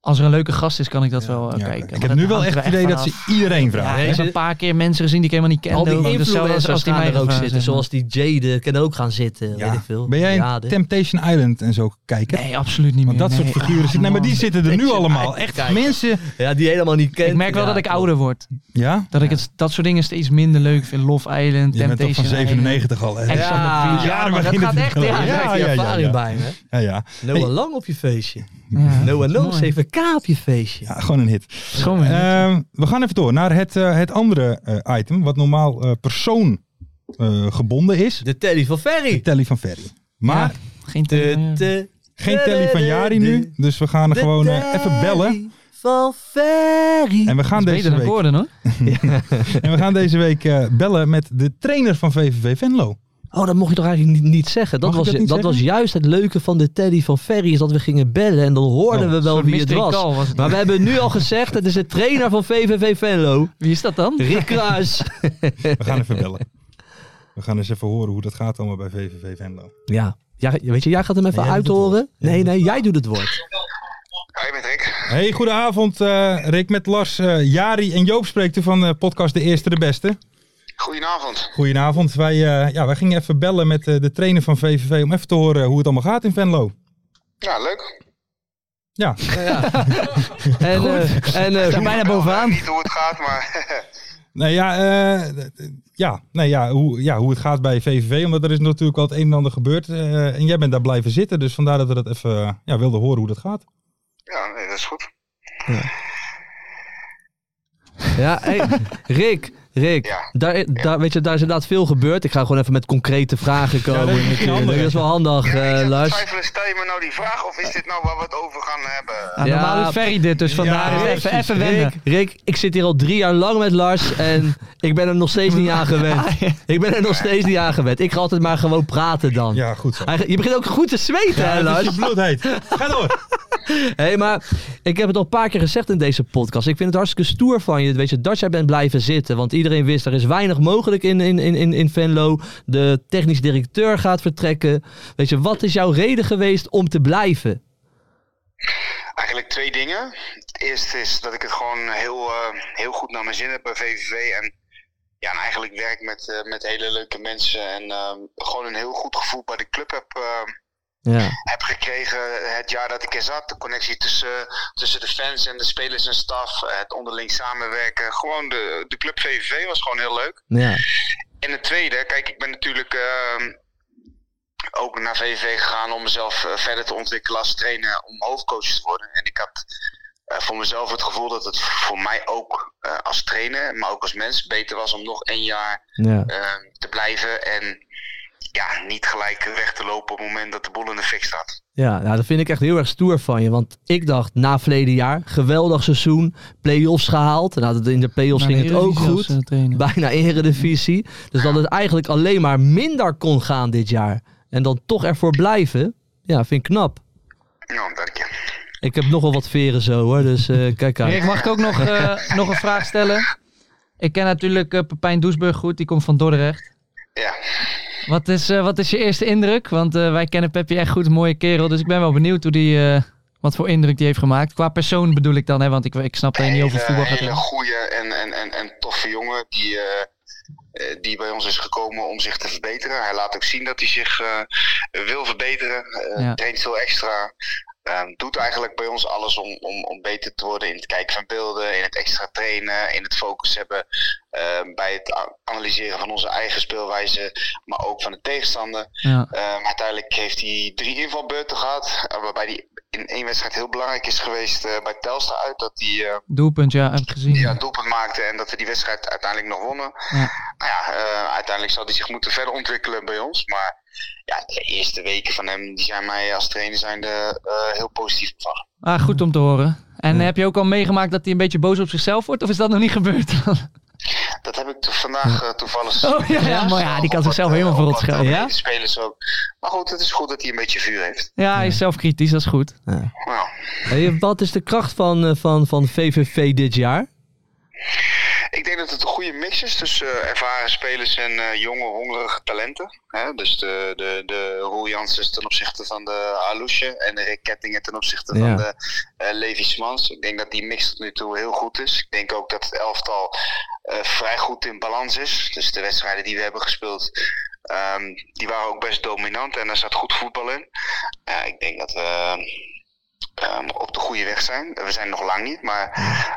G: Als er een leuke gast is, kan ik dat wel eh,
E: Ja,
G: kijken.
E: Ik
G: Oh, Maar
E: heb
G: dat
E: nu wel echt
G: hangt er
E: het idee dat
G: vanaf.
E: ze iedereen
G: Ja,
E: vragen.
G: ik
E: hè?
F: deze-
G: heb een paar keer mensen gezien die ik helemaal niet kende.
F: Al die
G: ook. Dus zelfs
F: influencers
G: als die
F: gaan
G: mij
F: er ook
G: vragen,
F: zitten.
G: zeg maar.
F: Zoals die Jade kan ook gaan zitten.
E: Ja.
F: Weet ik veel.
E: Ben jij
F: Ja,
E: een
F: de-
E: Temptation Island en zo kijken?
G: Nee, absoluut niet
E: Want
G: meer.
E: dat soort
G: nee.
E: figuren
G: Ah,
E: zitten... Nee, maar die
G: man.
E: zitten er nu
F: Temptation
E: allemaal.
F: Island
E: Echt
F: kijken.
E: mensen...
F: ja, die helemaal niet kent.
G: Ik merk wel
F: Ja,
G: dat ik
F: klopt.
G: ouder word.
E: Ja?
G: Dat ik het, dat soort dingen steeds minder leuk vind. Love Island,
E: Je bent toch van
G: Temptation Island.
E: 97 al. hè?
G: Ex on the
F: Ja,
G: Beach.
E: ja,
G: maar
E: maar
G: dat
E: in
G: gaat
E: het-
G: echt. Ja,
F: Ja,
G: ja.
F: ja,
E: Ja, ja,
F: ja,
E: ja,
F: ervaring
E: ja.
F: bij me.
E: Ja, ja.
F: Noah
E: Hey.
F: Lang op je feestje.
G: dat
F: Noah
G: is
F: Lang,
G: mooi.
F: 7K op je feestje.
E: Ja, gewoon een hit.
G: Schoon, hè?
E: Ehm, we gaan even door naar het, eh, het andere eh, item, wat normaal eh, persoon eh, gebonden is.
F: De telly van
E: De
F: Ferry.
E: telly van Ferry. Maar
G: Ja, geen
F: De,
G: te-
F: de,
E: geen telly van Jari nu, dus we gaan er
F: de
E: gewoon eh,
F: telly
E: even bellen.
F: Van Ferry.
E: En we gaan,
G: Dat is
E: deze
G: beter
E: week,
G: dan Gordon, hoor.
E: en we gaan deze week eh, bellen met de trainer van VVV Venlo.
F: Oh, dat mocht je toch eigenlijk niet, niet zeggen. Dat,
E: Mag ik
F: was,
E: dat niet
F: dat was
E: zeggen?
F: juist het leuke van de Teddy van Ferry. Is dat we gingen bellen en dan hoorden
E: Oh,
F: we wel
G: Zo'n
F: wie het
G: mystery
F: was.
G: call was het.
F: Maar we hebben nu al gezegd, het is de trainer van VVV Venlo.
G: Wie is dat dan?
F: Rick Kruis.
E: We gaan even bellen. We gaan eens even horen hoe dat gaat allemaal bij VVV Venlo.
F: Ja. ja, weet je, jij gaat hem even
E: jij doet het
F: uithoren.
E: woord. Jij
F: Nee,
E: doet
F: nee, jij doet het woord.
H: Hoi, met Rick.
E: Hey, goedenavond eh, Rick met Lars, eh, Jari en Joop spreekt u van eh, podcast De Eerste De Beste.
H: Goedenavond.
E: Goedenavond. Wij, eh, ja, wij gingen even bellen met eh, de trainer van VVV om even te horen hoe het allemaal gaat in Venlo.
H: Ja, leuk.
E: Ja,
F: En, eh, en eh,
G: Bijna
H: Ik
G: bovenaan.
H: weet niet hoe het gaat, maar
E: nee, ja, eh, d- d- ja, nee, ja, hoe, ja, hoe het gaat bij VVV, omdat er is natuurlijk wel het een en ander gebeurd. eh, en jij bent daar blijven zitten, dus vandaar dat we dat even eh, ja, wilden horen hoe dat gaat.
H: ja, nee, dat is goed.
F: Ja, hey, Rick, Rick,
H: Ja.
F: Daar, daar, weet je, daar is inderdaad veel gebeurd. Ik ga gewoon even met concrete vragen komen.
E: dat is misschien
F: natuurlijk.
E: handig,
F: dat is wel handig,
H: Ja, ik
F: eh,
H: zat te
F: Lars.
H: twijfelen, stel je me nou die vraag of is
G: Eh.
H: dit nou waar we het over gaan hebben?
G: Nou, normaal
F: Ja,
G: doet Ferry dit, dus vandaar
E: ja,
G: is even,
E: precies.
G: even wennen.
F: Rick, Rick, ik zit hier al drie jaar lang met Lars en ik ben er nog steeds niet aan gewend. Ik ben er nog steeds niet aan gewend. Ik ga altijd maar gewoon praten dan.
E: Ja, goed zo.
F: Hij- Je begint ook goed te zweten, hè,
E: Ja, het is
F: Lars?
E: je bloed heet. Ga door.
F: Hé, hey, maar ik heb het al een paar keer gezegd in deze podcast. Ik vind het hartstikke stoer van je, weet je, dat jij bent blijven zitten. Want iedereen wist, er is weinig mogelijk in, in, in, in, in Venlo. De technisch directeur gaat vertrekken. Weet je, wat is jouw reden geweest om te blijven?
H: Eigenlijk twee dingen. Het eerste is dat ik het gewoon heel, eh, heel goed naar mijn zin heb bij VVV. En, ja, en eigenlijk werk met, eh, met hele leuke mensen. En eh, gewoon een heel goed gevoel bij de club heb, eh,
F: Ja,
H: heb gekregen het jaar dat ik er zat. De connectie tussen, tussen de fans en de spelers en staf. Het onderling samenwerken. Gewoon de, de club VVV was gewoon heel leuk.
F: ja,
H: En het tweede, kijk, ik ben natuurlijk ehm, ook naar VVV gegaan om mezelf eh, verder te ontwikkelen als trainer om hoofdcoach te worden. En ik had eh, voor mezelf het gevoel dat het voor mij ook eh, als trainer, maar ook als mens, beter was om nog één jaar
F: ja.
H: eh, te blijven en ja, niet gelijk weg te lopen op het moment dat de boel in de fik staat.
F: Ja, nou, dat vind ik echt heel erg stoer van je. Want ik dacht na verleden jaar, geweldig seizoen, play-offs gehaald. Nou, dat- in de play-offs ging het ook goed.
G: eh,
F: Bijna eredivisie. Dus dat het eigenlijk alleen maar minder kon gaan dit jaar. En dan toch ervoor blijven. Ja, vind ik knap.
H: Nou, dank je.
F: Ik heb nogal wat veren zo hoor, dus eh, kijk uit.
G: Rick, mag ik ook nog, eh, nog een vraag stellen? Ik ken natuurlijk eh, Pepijn Doesburg goed, die komt van Dordrecht.
H: Ja.
G: Wat is, eh, wat is je eerste indruk? Want eh, wij kennen Peppi echt goed, een mooie kerel. Dus ik ben wel benieuwd hoe die, eh, wat voor indruk die heeft gemaakt. Qua persoon bedoel ik dan, hè, want ik, ik snap dat je niet over voetbal gaat.
H: Een eh, hele
G: praten.
H: goede en, en, en, en toffe jongen die, eh, eh, die bij ons is gekomen om zich te verbeteren. Hij laat ook zien dat hij zich eh, wil verbeteren. eh,
G: Ja.
H: Traint veel extra. eh, doet eigenlijk bij ons alles om, om, om beter te worden in het kijken van beelden, in het extra trainen, in het focus hebben eh, bij het a- analyseren van onze eigen speelwijze, maar ook van de tegenstander.
G: Ja.
H: Ehm, uiteindelijk heeft hij drie invalbeurten gehad, eh, waarbij hij in één wedstrijd heel belangrijk is geweest eh, bij Telstra uit, dat hij eh,
G: Doelpunt, ja, heb ik gezien.
H: ja, een doelpunt maakte en dat we die wedstrijd uiteindelijk nog wonnen.
G: Ja.
H: Nou ja, eh, uiteindelijk zal hij zich moeten verder ontwikkelen bij ons. Maar ja, de eerste weken van hem die zijn mij als trainer zijnde eh, heel positief bevallen.
G: Ah, goed om te horen. En heb je ook al meegemaakt dat hij een beetje boos op zichzelf wordt? Of is dat nog niet gebeurd?
H: Dat heb ik to- vandaag eh, toevallig.
G: Oh, ja, ja, maar ja, die kan zichzelf helemaal voor
H: voor
G: ons schelden, ja?
H: Spelers ook. Maar goed, het is goed dat hij een beetje vuur heeft.
G: ja, hij is zelfkritisch, dat is goed.
H: Nou,
F: Hey, wat is de kracht van, eh, van, van VVV dit jaar?
H: ik denk dat het een goede mix is tussen eh, ervaren spelers en eh, jonge, hongerige talenten. Hè? Dus de, de, de Roel Janssens ten opzichte van de Alusje en de Rick Kettingen ten opzichte
F: Ja.
H: van de eh Levi Smans. Ik denk dat die mix tot nu toe heel goed is. Ik denk ook dat het elftal eh, vrij goed in balans is. Dus de wedstrijden die we hebben gespeeld, ehm, die waren ook best dominant en daar zat goed voetbal in. Eh, ik denk dat we ehm, op de goede weg zijn. We zijn nog lang niet, maar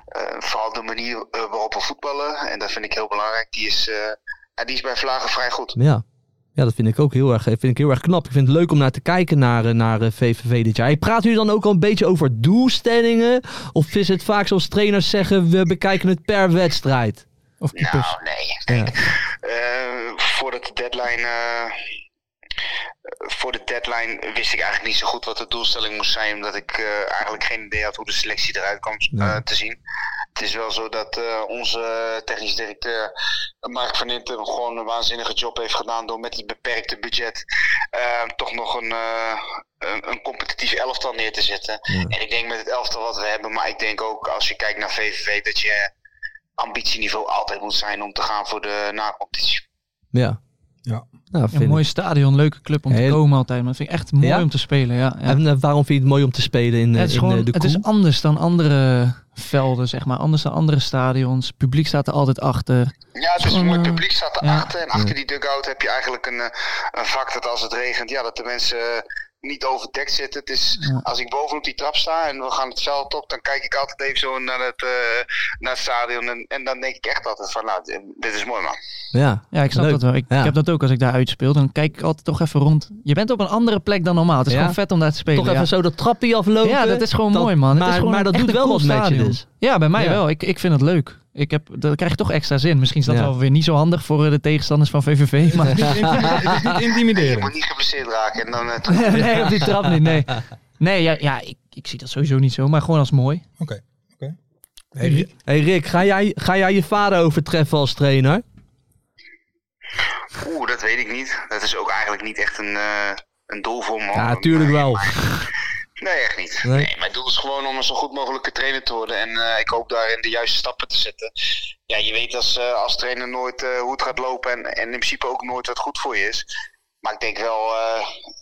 H: eh, vooral de manier eh, waarop we voetballen, en dat vind ik heel belangrijk, die is, eh, ja, die is bij Vlagen vrij goed.
F: Ja. ja, dat vind ik ook heel erg, eh, vind ik heel erg knap. Ik vind het leuk om naar te kijken naar, eh, naar eh, VVV dit jaar. Hey, Praat u dan ook al een beetje over doelstellingen? Of is het vaak zoals trainers zeggen, we bekijken het per wedstrijd?
E: Of keepers.
H: Nou, nee.
F: Ja.
H: Eh, voordat de deadline. eh, voor de deadline wist ik eigenlijk niet zo goed wat de doelstelling moest zijn, omdat ik eh, eigenlijk geen idee had hoe de selectie eruit kwam eh,
F: Nee.
H: te zien. Het is wel zo dat eh, onze technisch directeur eh, Mark van Inten gewoon een waanzinnige job heeft gedaan door met het beperkte budget eh, toch nog een, eh, een, een competitief elftal neer te zetten. En ik denk met het elftal wat we hebben, maar ik denk ook als je kijkt naar VVV dat je ambitieniveau altijd moet zijn om te gaan voor de nou, na-competitie.
F: Ja.
E: Ja.
F: Nou,
G: Een
F: vind
G: mooi stadion, leuke club om te
F: Heel-
G: komen altijd. Maar dat vind ik echt mooi
F: Ja?
G: om te spelen. Ja, ja.
F: ik. En eh, waarom vind je het mooi om te spelen in, eh,
G: het is
F: in
G: gewoon,
F: eh, de
G: het is
F: Koel?
G: anders dan andere velden, zeg maar. Anders dan andere stadions. Het publiek staat er altijd achter.
H: Ja, het is
G: Zo'n,
H: een mooi
G: eh,
H: publiek staat
G: ja.
H: erachter. En achter die dugout heb je eigenlijk een, eh, een vak dat als het regent, ja, dat de mensen eh, niet overdekt zitten. Het is,
G: Ja.
H: als ik bovenop die trap sta en we gaan het veld op, dan kijk ik altijd even zo naar het, eh, naar het stadion. En, en dan denk ik echt altijd van, nou, dit- dit is mooi man.
F: Ja.
G: Ja, ik snap
F: Leuk.
G: dat wel. Ik,
F: Ja.
G: ik heb dat ook als ik daar uitspeel. Dan kijk ik altijd toch even rond. Je bent op een andere plek dan normaal. Het is
F: Ja?
G: gewoon vet om daar te spelen.
F: Toch even
G: ja.
F: zo dat trappie aflopen.
G: Ja, dat is gewoon
F: Dat-
G: mooi, man. Het
F: maar-
G: is gewoon
F: maar dat
G: echt
F: doet
G: een
F: wel
G: cool
F: wat met je
G: stadion.
F: dus.
G: Ja, bij mij
F: Ja.
G: wel. Ik, ik vind het leuk. Ik heb, daar krijg je toch extra zin. Misschien is dat
F: Ja.
G: wel weer niet zo handig voor eh, de tegenstanders van VVV. Maar
E: Het is niet
H: Je moet
E: intimiderend.
H: niet geblesseerd raken. En dan, eh,
G: nee, op die trap niet. Nee, nee ja, ja ik, ik zie dat sowieso niet zo. Maar gewoon als mooi.
E: Oké.
F: hey Rick, ga jij, ga jij je vader overtreffen als trainer?
H: Oeh, dat weet ik niet. Dat is ook eigenlijk niet echt een, eh, een doel voor me.
F: Ja, tuurlijk wel.
H: Nee, echt niet.
F: Nee?
H: Nee. mijn doel is gewoon om een zo goed mogelijke trainer te worden. En eh, ik hoop daarin de juiste stappen te zetten. Ja, je weet als, eh, als trainer nooit eh, hoe het gaat lopen. En, en in principe ook nooit wat goed voor je is. Maar ik denk wel, eh,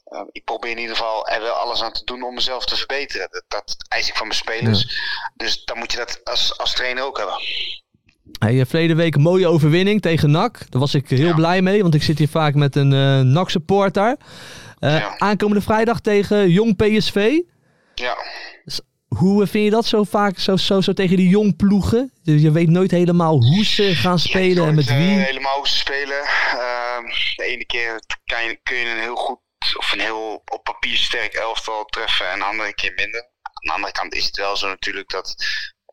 H: eh, ik probeer in ieder geval er wel alles aan te doen om mezelf te verbeteren. Dat, dat eis ik van mijn spelers. Dus dan moet je dat als, als trainer ook hebben.
F: Hey, eh, verleden week een mooie overwinning tegen NAC. Daar was ik heel blij mee, want ik zit hier vaak met een eh NAC-supporter. Eh,
H: Ja.
F: Aankomende vrijdag tegen Jong PSV.
H: Ja.
F: Hoe eh, vind je dat zo vaak, zo, zo, zo tegen die jong ploegen? Dus je weet nooit helemaal hoe ze gaan
H: Ja,
F: spelen en
H: je
F: met
H: hoort, eh,
F: wie.
H: helemaal hoe ze spelen. Ehm, de ene keer kan je- kun je een heel goed of een heel op papier sterk elftal treffen en de andere keer minder. Aan de andere kant is het wel zo natuurlijk dat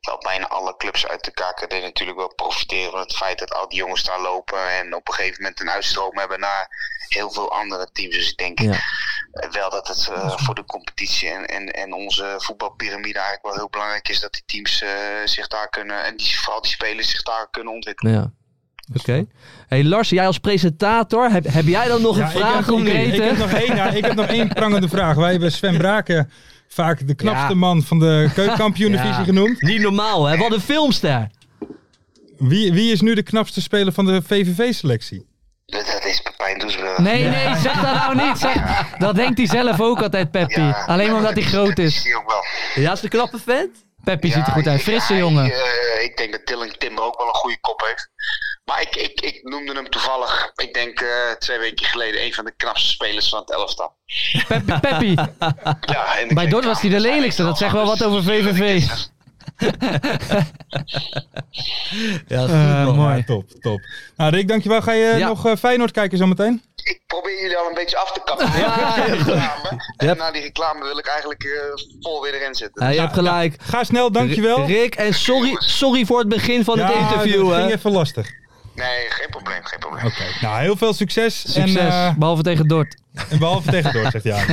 H: wel bijna alle clubs uit de KKD natuurlijk wel profiteren van het feit dat al die jongens daar lopen en op een gegeven moment een uitstroom hebben naar heel veel andere teams. Dus ik denk
F: Ja.
H: eh, wel dat het eh, voor de competitie en, en, en onze voetbalpyramide eigenlijk wel heel belangrijk is dat die teams eh, zich daar kunnen en die, vooral die spelers zich daar kunnen ontwikkelen.
F: Ja. Oké. Hey Lars, jij als presentator, heb, heb jij dan nog een vraag
E: ik,
F: concreet?
E: heb nog één, ja, ik heb nog één prangende vraag. Wij hebben Sven Braken vaak de knapste man van de keukenkampioen-divisie
F: Ja.
E: genoemd.
F: Niet normaal, hè? Wat een filmster.
E: Wie, wie is nu de knapste speler van de VVV-selectie?
H: Dat, dat is Pepijn Doesburg.
G: Nee, nee, zeg dat nou niet. Zeg, dat denkt hij zelf ook altijd, Peppy.
H: Ja.
G: Alleen omdat hij groot
H: Dat
G: is.
H: zie je ook wel.
F: Ja, is de knappe vent?
G: Peppy
H: Ja,
G: ziet er goed uit.
H: ik-
G: Frisse
H: ja,
G: jongen.
H: Ik, eh, ik denk dat Dylan Timber ook wel een goede kop heeft. Maar ik, ik, ik noemde hem toevallig, ik denk eh, twee weken geleden, een van de knapste spelers van het elftal.
G: Peppy, Peppy.
H: Ja, en ik
G: Bij
H: denk,
G: Dordt
H: nou,
G: was hij de
H: dat is
G: lelijkste. Dat zegt wel wat over VVV.
F: Ja,
G: Eh, mooi.
E: Ja, top, top. Nou, Rick, dankjewel. Ga je
F: Ja.
E: nog eh, Feyenoord kijken zometeen?
H: Ik probeer jullie al een beetje af te kappen.
F: Ja,
H: Na die
F: heel goed.
H: reclame. En
F: Yep.
H: na die reclame wil ik eigenlijk eh, vol weer erin zitten.
F: Ja, je hebt gelijk.
E: Ga snel, dankjewel.
F: Rick, en sorry, sorry voor het begin van het
E: Ja,
F: interview.
E: dat
F: hè.
E: ging even lastig.
H: Nee, geen probleem, geen probleem.
E: Oké. Nou, heel veel succes.
G: Succes.
E: En, eh,
G: Dus, Behalve tegen Dordt.
E: en behalve tegen Dordt, zegt ja.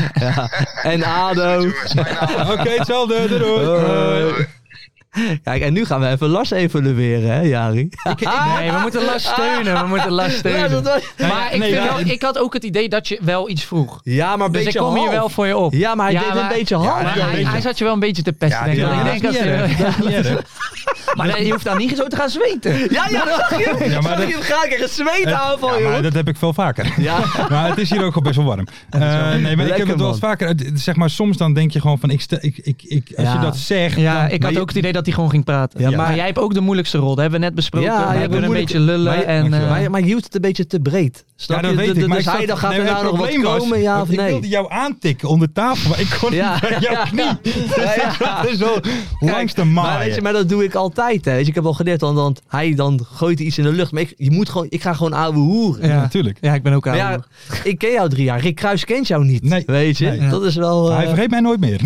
F: En Ado.
H: Jongens, mijn naam.
F: Eh,
E: Oké, hetzelfde. Doei. doei.
F: Hoi. Kijk, en nu gaan we even Lars evalueren, hè, Jari?
G: Nee, we moeten Lars steunen. We moeten Lars steunen. Maar ik,
E: Nee,
G: vind
E: ja,
G: wel-
E: in-
G: ik had ook het idee dat je wel iets vroeg.
F: Ja, maar een
G: Dus ik
F: beetje
G: kom hier
F: half.
G: wel voor je op.
F: Ja, maar hij deed een beetje half.
G: maar
E: Ja,
G: hij,
E: een
G: hij
E: beetje.
G: zat je wel een beetje te pesten. denk ik.
E: Ja,
G: ik
E: dat
G: denk
E: is
G: als eh,
E: niet
G: je-
E: erg. Dat is niet erg.
G: Maar nee, je hoeft
F: nou
G: daar niet zo te gaan zweten.
F: Ja, ja, dat zag je.
E: Ja, maar
F: zag
E: dat-
F: je hem gaan krijgen een zweetaanval,
E: Eh, Ja, maar
F: joh.
E: dat heb ik veel vaker.
F: Ja.
E: Maar het is hier ook al best wel warm. Eh, nee, maar ik heb
F: Lekker,
E: het wel eens
F: man.
E: vaker. eh, Zeg maar, soms dan denk je gewoon van, ik stel, ik, ik, ik, als je
F: Ja.
E: dat zegt,
G: Ja,
E: dan-
G: ik had
F: je-
G: ook het idee dat hij gewoon ging praten.
F: Ja,
G: maar,
F: maar-
G: jij hebt ook de moeilijkste rol. Dat hebben we net besproken.
F: Ja,
G: Ja,
F: ja,
G: je kunt een
F: moeilijk-
G: beetje lullen.
F: maar je-
G: en,
F: Dankjewel.
G: eh,
F: maar, je- maar je hield het een beetje te breed. Snap
E: Ja, dat
F: je?
E: weet
F: De-
E: ik.
F: de-
E: maar
F: dus
E: ik
F: hij
E: zat-
F: dan gaat
E: nee,
F: er
E: maar
F: nou
E: het
F: nog wat
E: probleem was,
F: komen, ja
E: want
F: of
E: Ik
F: nee?
E: wilde jou aantikken onder tafel, maar ik kon
F: Ja.
E: niet bij jouw knie. Dus ik zat er zo langs de
F: Maar, weet je,
E: maaien.
F: maar dat doe ik altijd. Hè. Weet je, ik heb al geleerd, dan, dan, hij dan gooit iets in de lucht. Maar ik, je moet gewoon, ik ga gewoon ouwe hoeren.
E: Ja, natuurlijk.
G: ja, ik ben ook
F: Maar
G: aan.
F: ja, ik ken jou drie jaar. Rick Kruis kent jou niet.
E: Nee.
F: Weet je,
E: Nee.
F: dat is wel... eh,
E: Hij vergeet mij nooit meer.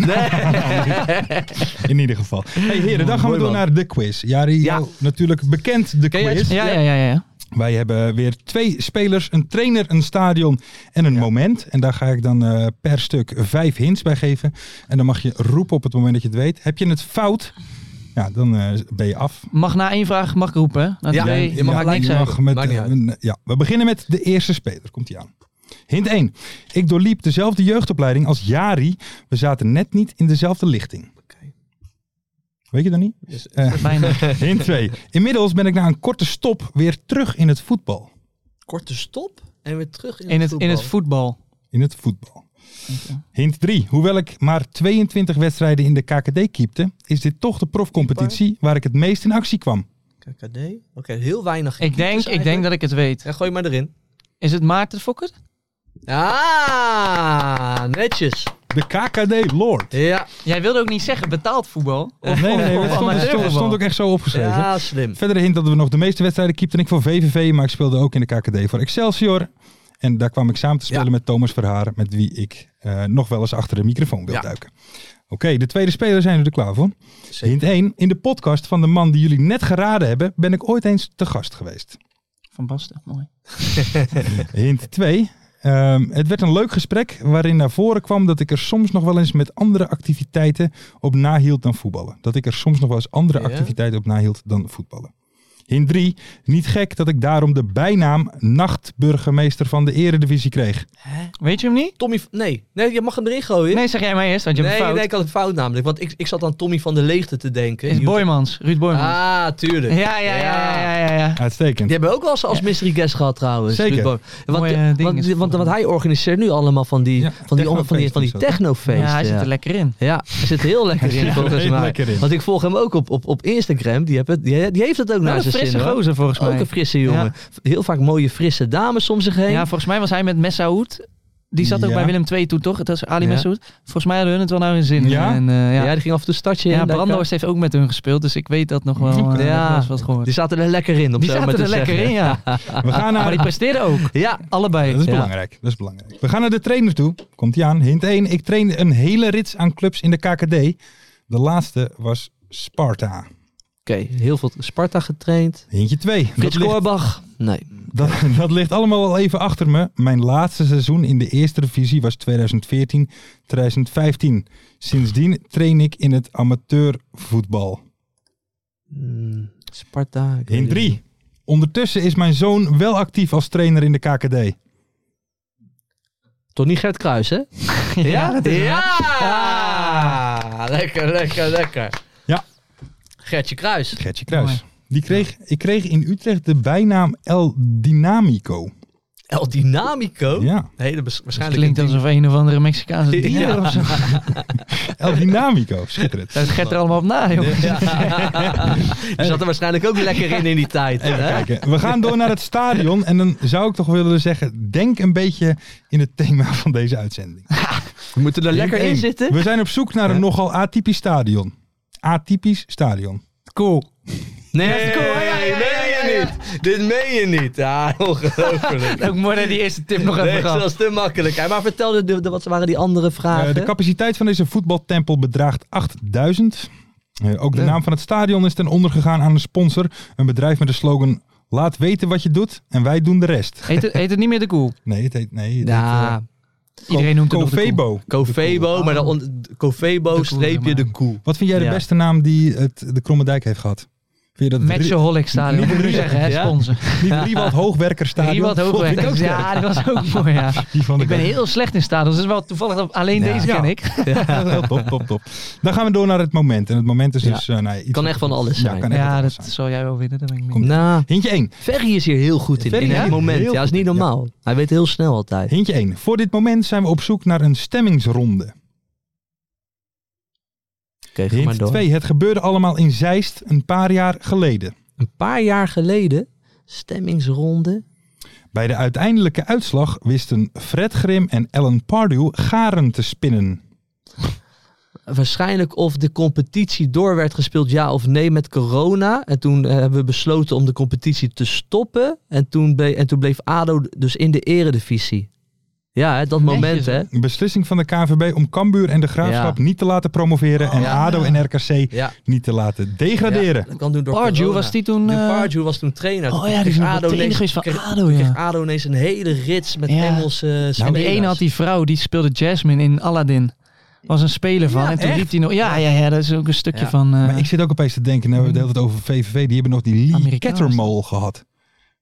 E: In ieder geval. Hey heren, dan gaan we
F: Mooi
E: door
F: man.
E: naar de quiz. Jari,
F: Ja.
E: jou natuurlijk bekend de
G: ja,
E: quiz.
G: ja, ja, ja, ja.
E: Wij hebben weer twee spelers, een trainer, een stadion en een moment. En daar ga ik dan eh, per stuk vijf hints bij geven. En dan mag je roepen op het moment dat je het weet. Heb je het fout, ja, dan eh, ben je af.
G: Mag na één vraag mag ik roepen. hè? Na
F: Ja,
G: twee,
F: je mag
G: maakt
F: gelijk
G: niks
F: zeggen.
G: uit.
E: mag met,
F: Maakt niet
E: eh,
F: uit.
E: een- ja, we beginnen met de eerste speler. Komt hij aan. Hint 1. Ik doorliep dezelfde jeugdopleiding als Jari. We zaten net niet in dezelfde lichting. Weet je dat niet? Eh,
G: Bijna.
E: hint 2. Inmiddels ben ik na een korte stop weer terug in het voetbal.
F: korte stop en weer terug in,
G: In het, in het
F: voetbal.
G: voetbal.
E: in het voetbal. Hint 3. Hoewel ik maar 22 wedstrijden in de KKD keepte, is dit toch de profcompetitie waar ik het meest in actie kwam.
F: KKD. Oké, heel weinig.
G: Ik denk, ik denk dat ik het weet.
F: Ja, gooi maar erin.
G: Is het Maarten Fokker?
F: Ah, netjes.
E: De KKD Lord.
F: Ja,
G: Jij wilde ook niet zeggen betaald voetbal.
F: Oh,
E: Nee, nee, nee,
G: of
E: dat stond, dat stond, dat
G: amateurvoetbal.
E: stond ook echt zo opgeschreven.
F: ja slim.
E: Verdere hint dat we nog de meeste wedstrijden keepten ik voor VVV, maar ik speelde ook in de KKD voor Excelsior. En daar kwam ik samen te spelen
F: Ja.
E: met Thomas Verharen, met wie ik eh, nog wel eens achter de microfoon wil
F: Ja.
E: duiken. Oké, de tweede speler zijn we er klaar voor.
F: Zeker.
E: Hint 1. In de podcast van de man die jullie net geraden hebben, ben ik ooit eens te gast geweest.
G: Van Basten, mooi.
E: Hint 2. het werd een leuk gesprek waarin naar voren kwam dat ik er soms nog wel eens met andere activiteiten op nahield dan voetballen. Dat ik er soms nog wel eens andere
F: Ja.
E: activiteiten op nahield dan voetballen. Hint 3. Niet gek dat ik daarom de bijnaam nachtburgemeester van de eredivisie kreeg.
G: Weet je hem niet?
F: Tommy, v- nee. nee, je mag hem erin gooien.
G: Nee, zeg jij mij eerst, want je
F: nee,
G: hebt een fout.
F: nee, ik had een fout namelijk. Want ik, ik zat aan Tommy van der Leegte te denken.
G: Is
F: Die-
G: Boymans, Ruud Boymans.
F: Ah, tuurlijk.
G: ja, ja, ja, ja, ja, ja, ja.
E: Uitstekend.
F: Die hebben we ook wel eens als mystery guest gehad trouwens.
E: Zeker.
F: Ruud Boom. Want,
G: Mooie, eh,
F: want,
G: ding is
F: want,
G: het
F: want,
G: volgens mij.
F: hij organiseert nu allemaal van die,
E: Ja,
F: van die, van die, van die
E: technofeesten is dat, hè?
F: technofeesten.
G: Ja, hij zit er
F: ja.
G: lekker in.
F: Ja, hij zit er heel lekker in volgens
E: heel
F: mij.
E: lekker in.
F: Want ik volg hem ook op, op, op Instagram. Die, heb het, die, die heeft het ook
G: Wel
F: naar
G: een
F: zijn zin.
G: Nou, frisse
F: hoor.
G: gozer volgens mij.
F: Ook een frisse jongen. Heel vaak mooie frisse dames om zich heen.
G: Ja, volgens mij was hij met Messaoud. Die zat ook
E: Ja.
G: bij Willem II toen, toch? Dat is Ali
F: Ja.
G: Messaoud. Volgens mij hadden hun het wel naar hun zin.
E: Ja?
G: En, eh,
F: ja.
G: ja.
F: die ging af en toe startje
G: Ja,
F: in. daar-
G: Brandhorst heeft ook met hun gespeeld, dus ik weet dat nog wel. eh,
F: Ja.
G: heb ik wel eens wat gehoord.
F: Die zaten er lekker in. Om
G: Die
F: zo maar
G: zaten
F: te
G: er lekker
F: zeggen.
G: in, ja. Ah, nou.
E: We gaan
G: Maar
E: naar...
G: die presteerden ook.
F: Ja,
G: Allebei.
E: Dat is,
F: Ja.
E: belangrijk. dat is belangrijk. We gaan naar de trainer toe. Komt hij aan. Hint 1. Ik trainde een hele rits aan clubs in de KKD. De laatste was Sparta.
F: oké. Heel veel Sparta getraind.
E: Hintje 2.
F: Frits Korbach. Nee.
E: Dat, dat ligt allemaal al even achter me. Mijn laatste seizoen in de eerste divisie was 2014-2015. Sindsdien train ik in het amateurvoetbal.
F: Hmm, Sparta. ik weet
E: In
F: het niet.
E: 3. Ondertussen is mijn zoon wel actief als trainer in de KKD.
F: Toch niet Gert Kruis, hè?
G: Ja, dat is
F: ja! Ah, Lekker, lekker, lekker.
E: Ja.
F: Gertje Kruis.
E: Gertje Kruis. Die kreeg, ik kreeg in Utrecht de bijnaam El Dynamico.
F: El Dynamico.
E: Ja,
F: Hele bes-
G: Het
F: waarschijnlijk
G: klinkt
F: een
G: alsof een of andere Mexicaanse
F: Ja.
G: dealer of zo.
E: El Dynamico. Schitterend.
G: Daar gaat er allemaal op na, joh.
F: Ja. Die zat er waarschijnlijk ook lekker in in die tijd. hè?
E: Kijken, we gaan door naar het stadion. En dan zou ik toch willen zeggen, denk een beetje in het thema van deze uitzending.
F: We moeten er lekker
E: Eén.
F: in zitten.
E: We zijn op zoek naar een nogal atypisch stadion. Atypisch stadion.
F: Cool. Nee,
G: Nee,
F: cool. Ja, ja, ja,
G: ja,
F: meen
G: ja,
F: je
G: ja.
F: niet. Dit meen je niet. Ja, ongelooflijk.
G: Ook mooi dat die eerste tip nog even
F: Nee, dat
G: gaf.
F: was te makkelijk. Hè, Maar vertel, de- de- wat waren die andere
E: Eh,
F: vragen?
E: de capaciteit van deze voetbaltempel bedraagt 8000. Eh, ook de
F: Ja.
E: naam van het stadion is ten onder gegaan aan een sponsor. Een bedrijf met de slogan... Laat weten wat je doet en wij doen de rest.
G: Heet het, heet het niet meer de Cool?
F: eh,
E: Nee, het heet... Nee, het heet,
F: Ja,
G: Iedereen noemt hem nog de koe.
E: Covebo.
F: Covebo,
E: Oh,
F: maar dan on- Covebo
G: koe,
F: streepje
G: maar.
F: de koe.
E: Wat vind jij de
F: Ja.
E: beste naam die het, de Kromme Dijk heeft gehad? Vind je dat het Ri-
G: Matchaholic Stadion. Moet ik nu zeggen, hè,
F: Ja?
G: sponsor.
E: niet Riewald Hoogwerkerstadion?
G: Riewald
E: Vond ik ook
G: Hoogweg.
E: sterk.
G: Ja, dat was ook mooi, ja.
E: Die vond
G: Ik ben
E: ook-
G: heel slecht in stadions. Dus wel toevallig dat alleen
E: Ja.
G: deze ken
E: Ja.
G: ik.
E: Ja, heel top, top, top. Dan gaan we door naar het moment. En het moment is
F: Ja.
E: dus... eh, nou, iets
F: Kan
E: wat-
F: echt van alles zijn.
E: Ja, kan echt van
G: Ja, dat
E: alles zijn.
G: zal jij wel winnen. Daar ben ik mee.
E: Komt-
F: Nou,
E: Hintje 1.
F: Ferry is hier heel goed in.
E: Ferry,
F: in
E: hè?
F: het moment.
E: Heel
F: Ja, dat is
E: goed
F: niet
E: in, ja.
F: normaal. Hij weet heel snel altijd.
E: Hintje 1. Voor dit moment zijn we op zoek naar een stemmingsronde.
F: Oké, ga maar
E: Hint
F: door.
E: 2. Het gebeurde allemaal in Zeist een paar jaar geleden.
F: Een paar jaar geleden, stemmingsronde.
E: Bij de uiteindelijke uitslag wisten Fred Grim en Ellen Pardew garen te spinnen.
F: Waarschijnlijk of de competitie door werd gespeeld, ja of nee, met corona. En toen eh, hebben we besloten om de competitie te stoppen. En toen, ble- en toen bleef ADO dus in de eredivisie. Ja, hè, dat moment,
G: Netjes,
F: hè.
E: Een beslissing van de KNVB om Cambuur en de Graafschap
F: Ja. Oh,
E: niet te laten promoveren en
F: Ja.
E: ADO en RKC
F: Ja.
E: niet te laten degraderen.
F: Ja, dat kan doen door
G: Pardew
F: corona.
G: was die toen...
F: De
G: eh,
F: Pardew was toen trainer.
G: Oh
F: Toen
G: ja, die
F: kreeg
G: is nog wel de
F: ineens-
G: enige is van
F: kreeg-
G: ADO,
F: toen
G: ja.
F: kreeg ADO ineens een hele rits met
G: Ja.
F: Engelse eh,
G: Nou, die ene had die vrouw, die speelde Jasmine in Aladdin. Was een speler van.
E: Ja,
G: en toen
E: echt?
G: liep hij nog. Ja, ja, ja, dat is ook een stukje
F: Ja.
G: van. eh,
E: Maar ik zit ook opeens te denken, nou we hebben
F: Mm.
E: het over VVV, die hebben nog die Lee
G: Amerikaans.
E: Kettermol gehad.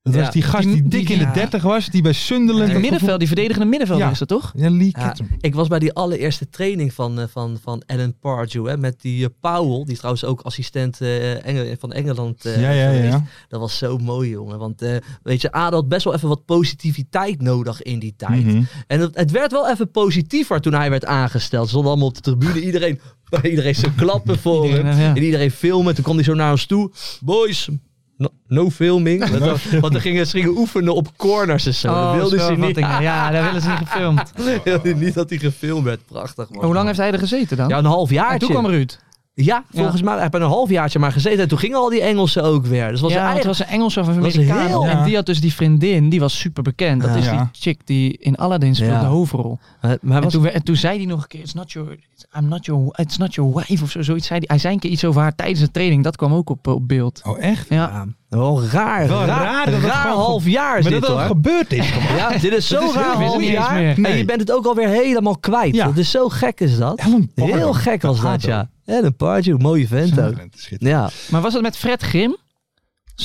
E: Dat
F: Ja.
E: was die gast die,
G: Die-
E: dik
G: die-
E: in de
G: ja.
E: 30 was, die bij Sunderland...
G: het
E: dat
G: middenveld, die verdedigende middenvelder
E: Ja.
G: is dat toch?
E: gevoel- Ja, Lee
F: Ja,
E: Kettermol.
F: ik was bij die allereerste training van, eh, van, van Alan Pardew. Hè, met die eh, Powell, die trouwens ook assistent eh, Engel- van Engeland eh,
E: Ja, ja,
F: geweest.
E: ja.
F: Dat was zo mooi, jongen. Want eh, weet je, ADO had best wel even wat positiviteit nodig in die tijd.
E: Mhm.
F: En het, het werd wel even positiever toen hij werd aangesteld. Ze stonden allemaal op de tribune. Iedereen, iedereen zo klappen voor
G: Iedereen,
F: hem.
G: ja.
F: En iedereen filmen. Toen kwam hij zo naar ons toe. Boys, no, no filming. Want dan- Want dan gingen ze gingen oefenen op corners en zo. dat wilden
G: Oh, zo
F: ze
G: wat
F: niet.
G: dingen. Ja, daar willen ze niet gefilmd.
F: wilden niet dat hij gefilmd werd. Prachtig, man.
G: Hoe lang heeft hij er gezeten dan?
F: Ja, een half
G: en toen kwam
F: jaartje.
G: Ruud.
F: Ja, volgens mij. Hij heeft een half jaartje maar gezeten. En toen gingen al die Engelsen ook weer. Dus het was
G: ja,
F: eigenlijk...
G: het was een Engels of een
F: was
G: Amerikaan.
F: heel-
G: En die had dus die vriendin, die was super bekend. Dat
F: Ja.
G: is die
E: Ja.
G: chick die in Aladdin speelde,
F: Ja.
G: de hoofdrol.
F: Eh, maar hij
G: En
F: was...
G: toen, we- en toen zei hij nog een keer, it's not your, it's- I'm not your, it's not your wife of zo, zoiets. Zei hij. hij zei een keer iets over haar tijdens de training, dat kwam ook op, eh, op beeld.
E: Oh, echt?
G: Ja.
F: Ja, wel raar.
E: Wel
F: raar,
E: raar dat het
F: raar
E: gewoon-
F: half jaar is
E: Maar
F: dit,
E: dat dat
F: hoor.
E: gebeurd is.
F: Ja, dit is zo
G: is heel-
F: raar
G: wist ik
F: half
G: niet eens
F: jaar.
G: meer.
F: En
E: Nee.
F: je bent het ook alweer helemaal kwijt.
E: Ja.
F: Dat is zo gek is dat.
E: Ellen Pardew.
F: Heel gek was dat,
E: Pardew.
F: ja. En een Pardew, mooie vent ook.
E: Schitterend.
F: Ja.
G: Maar was dat met Fred Grim?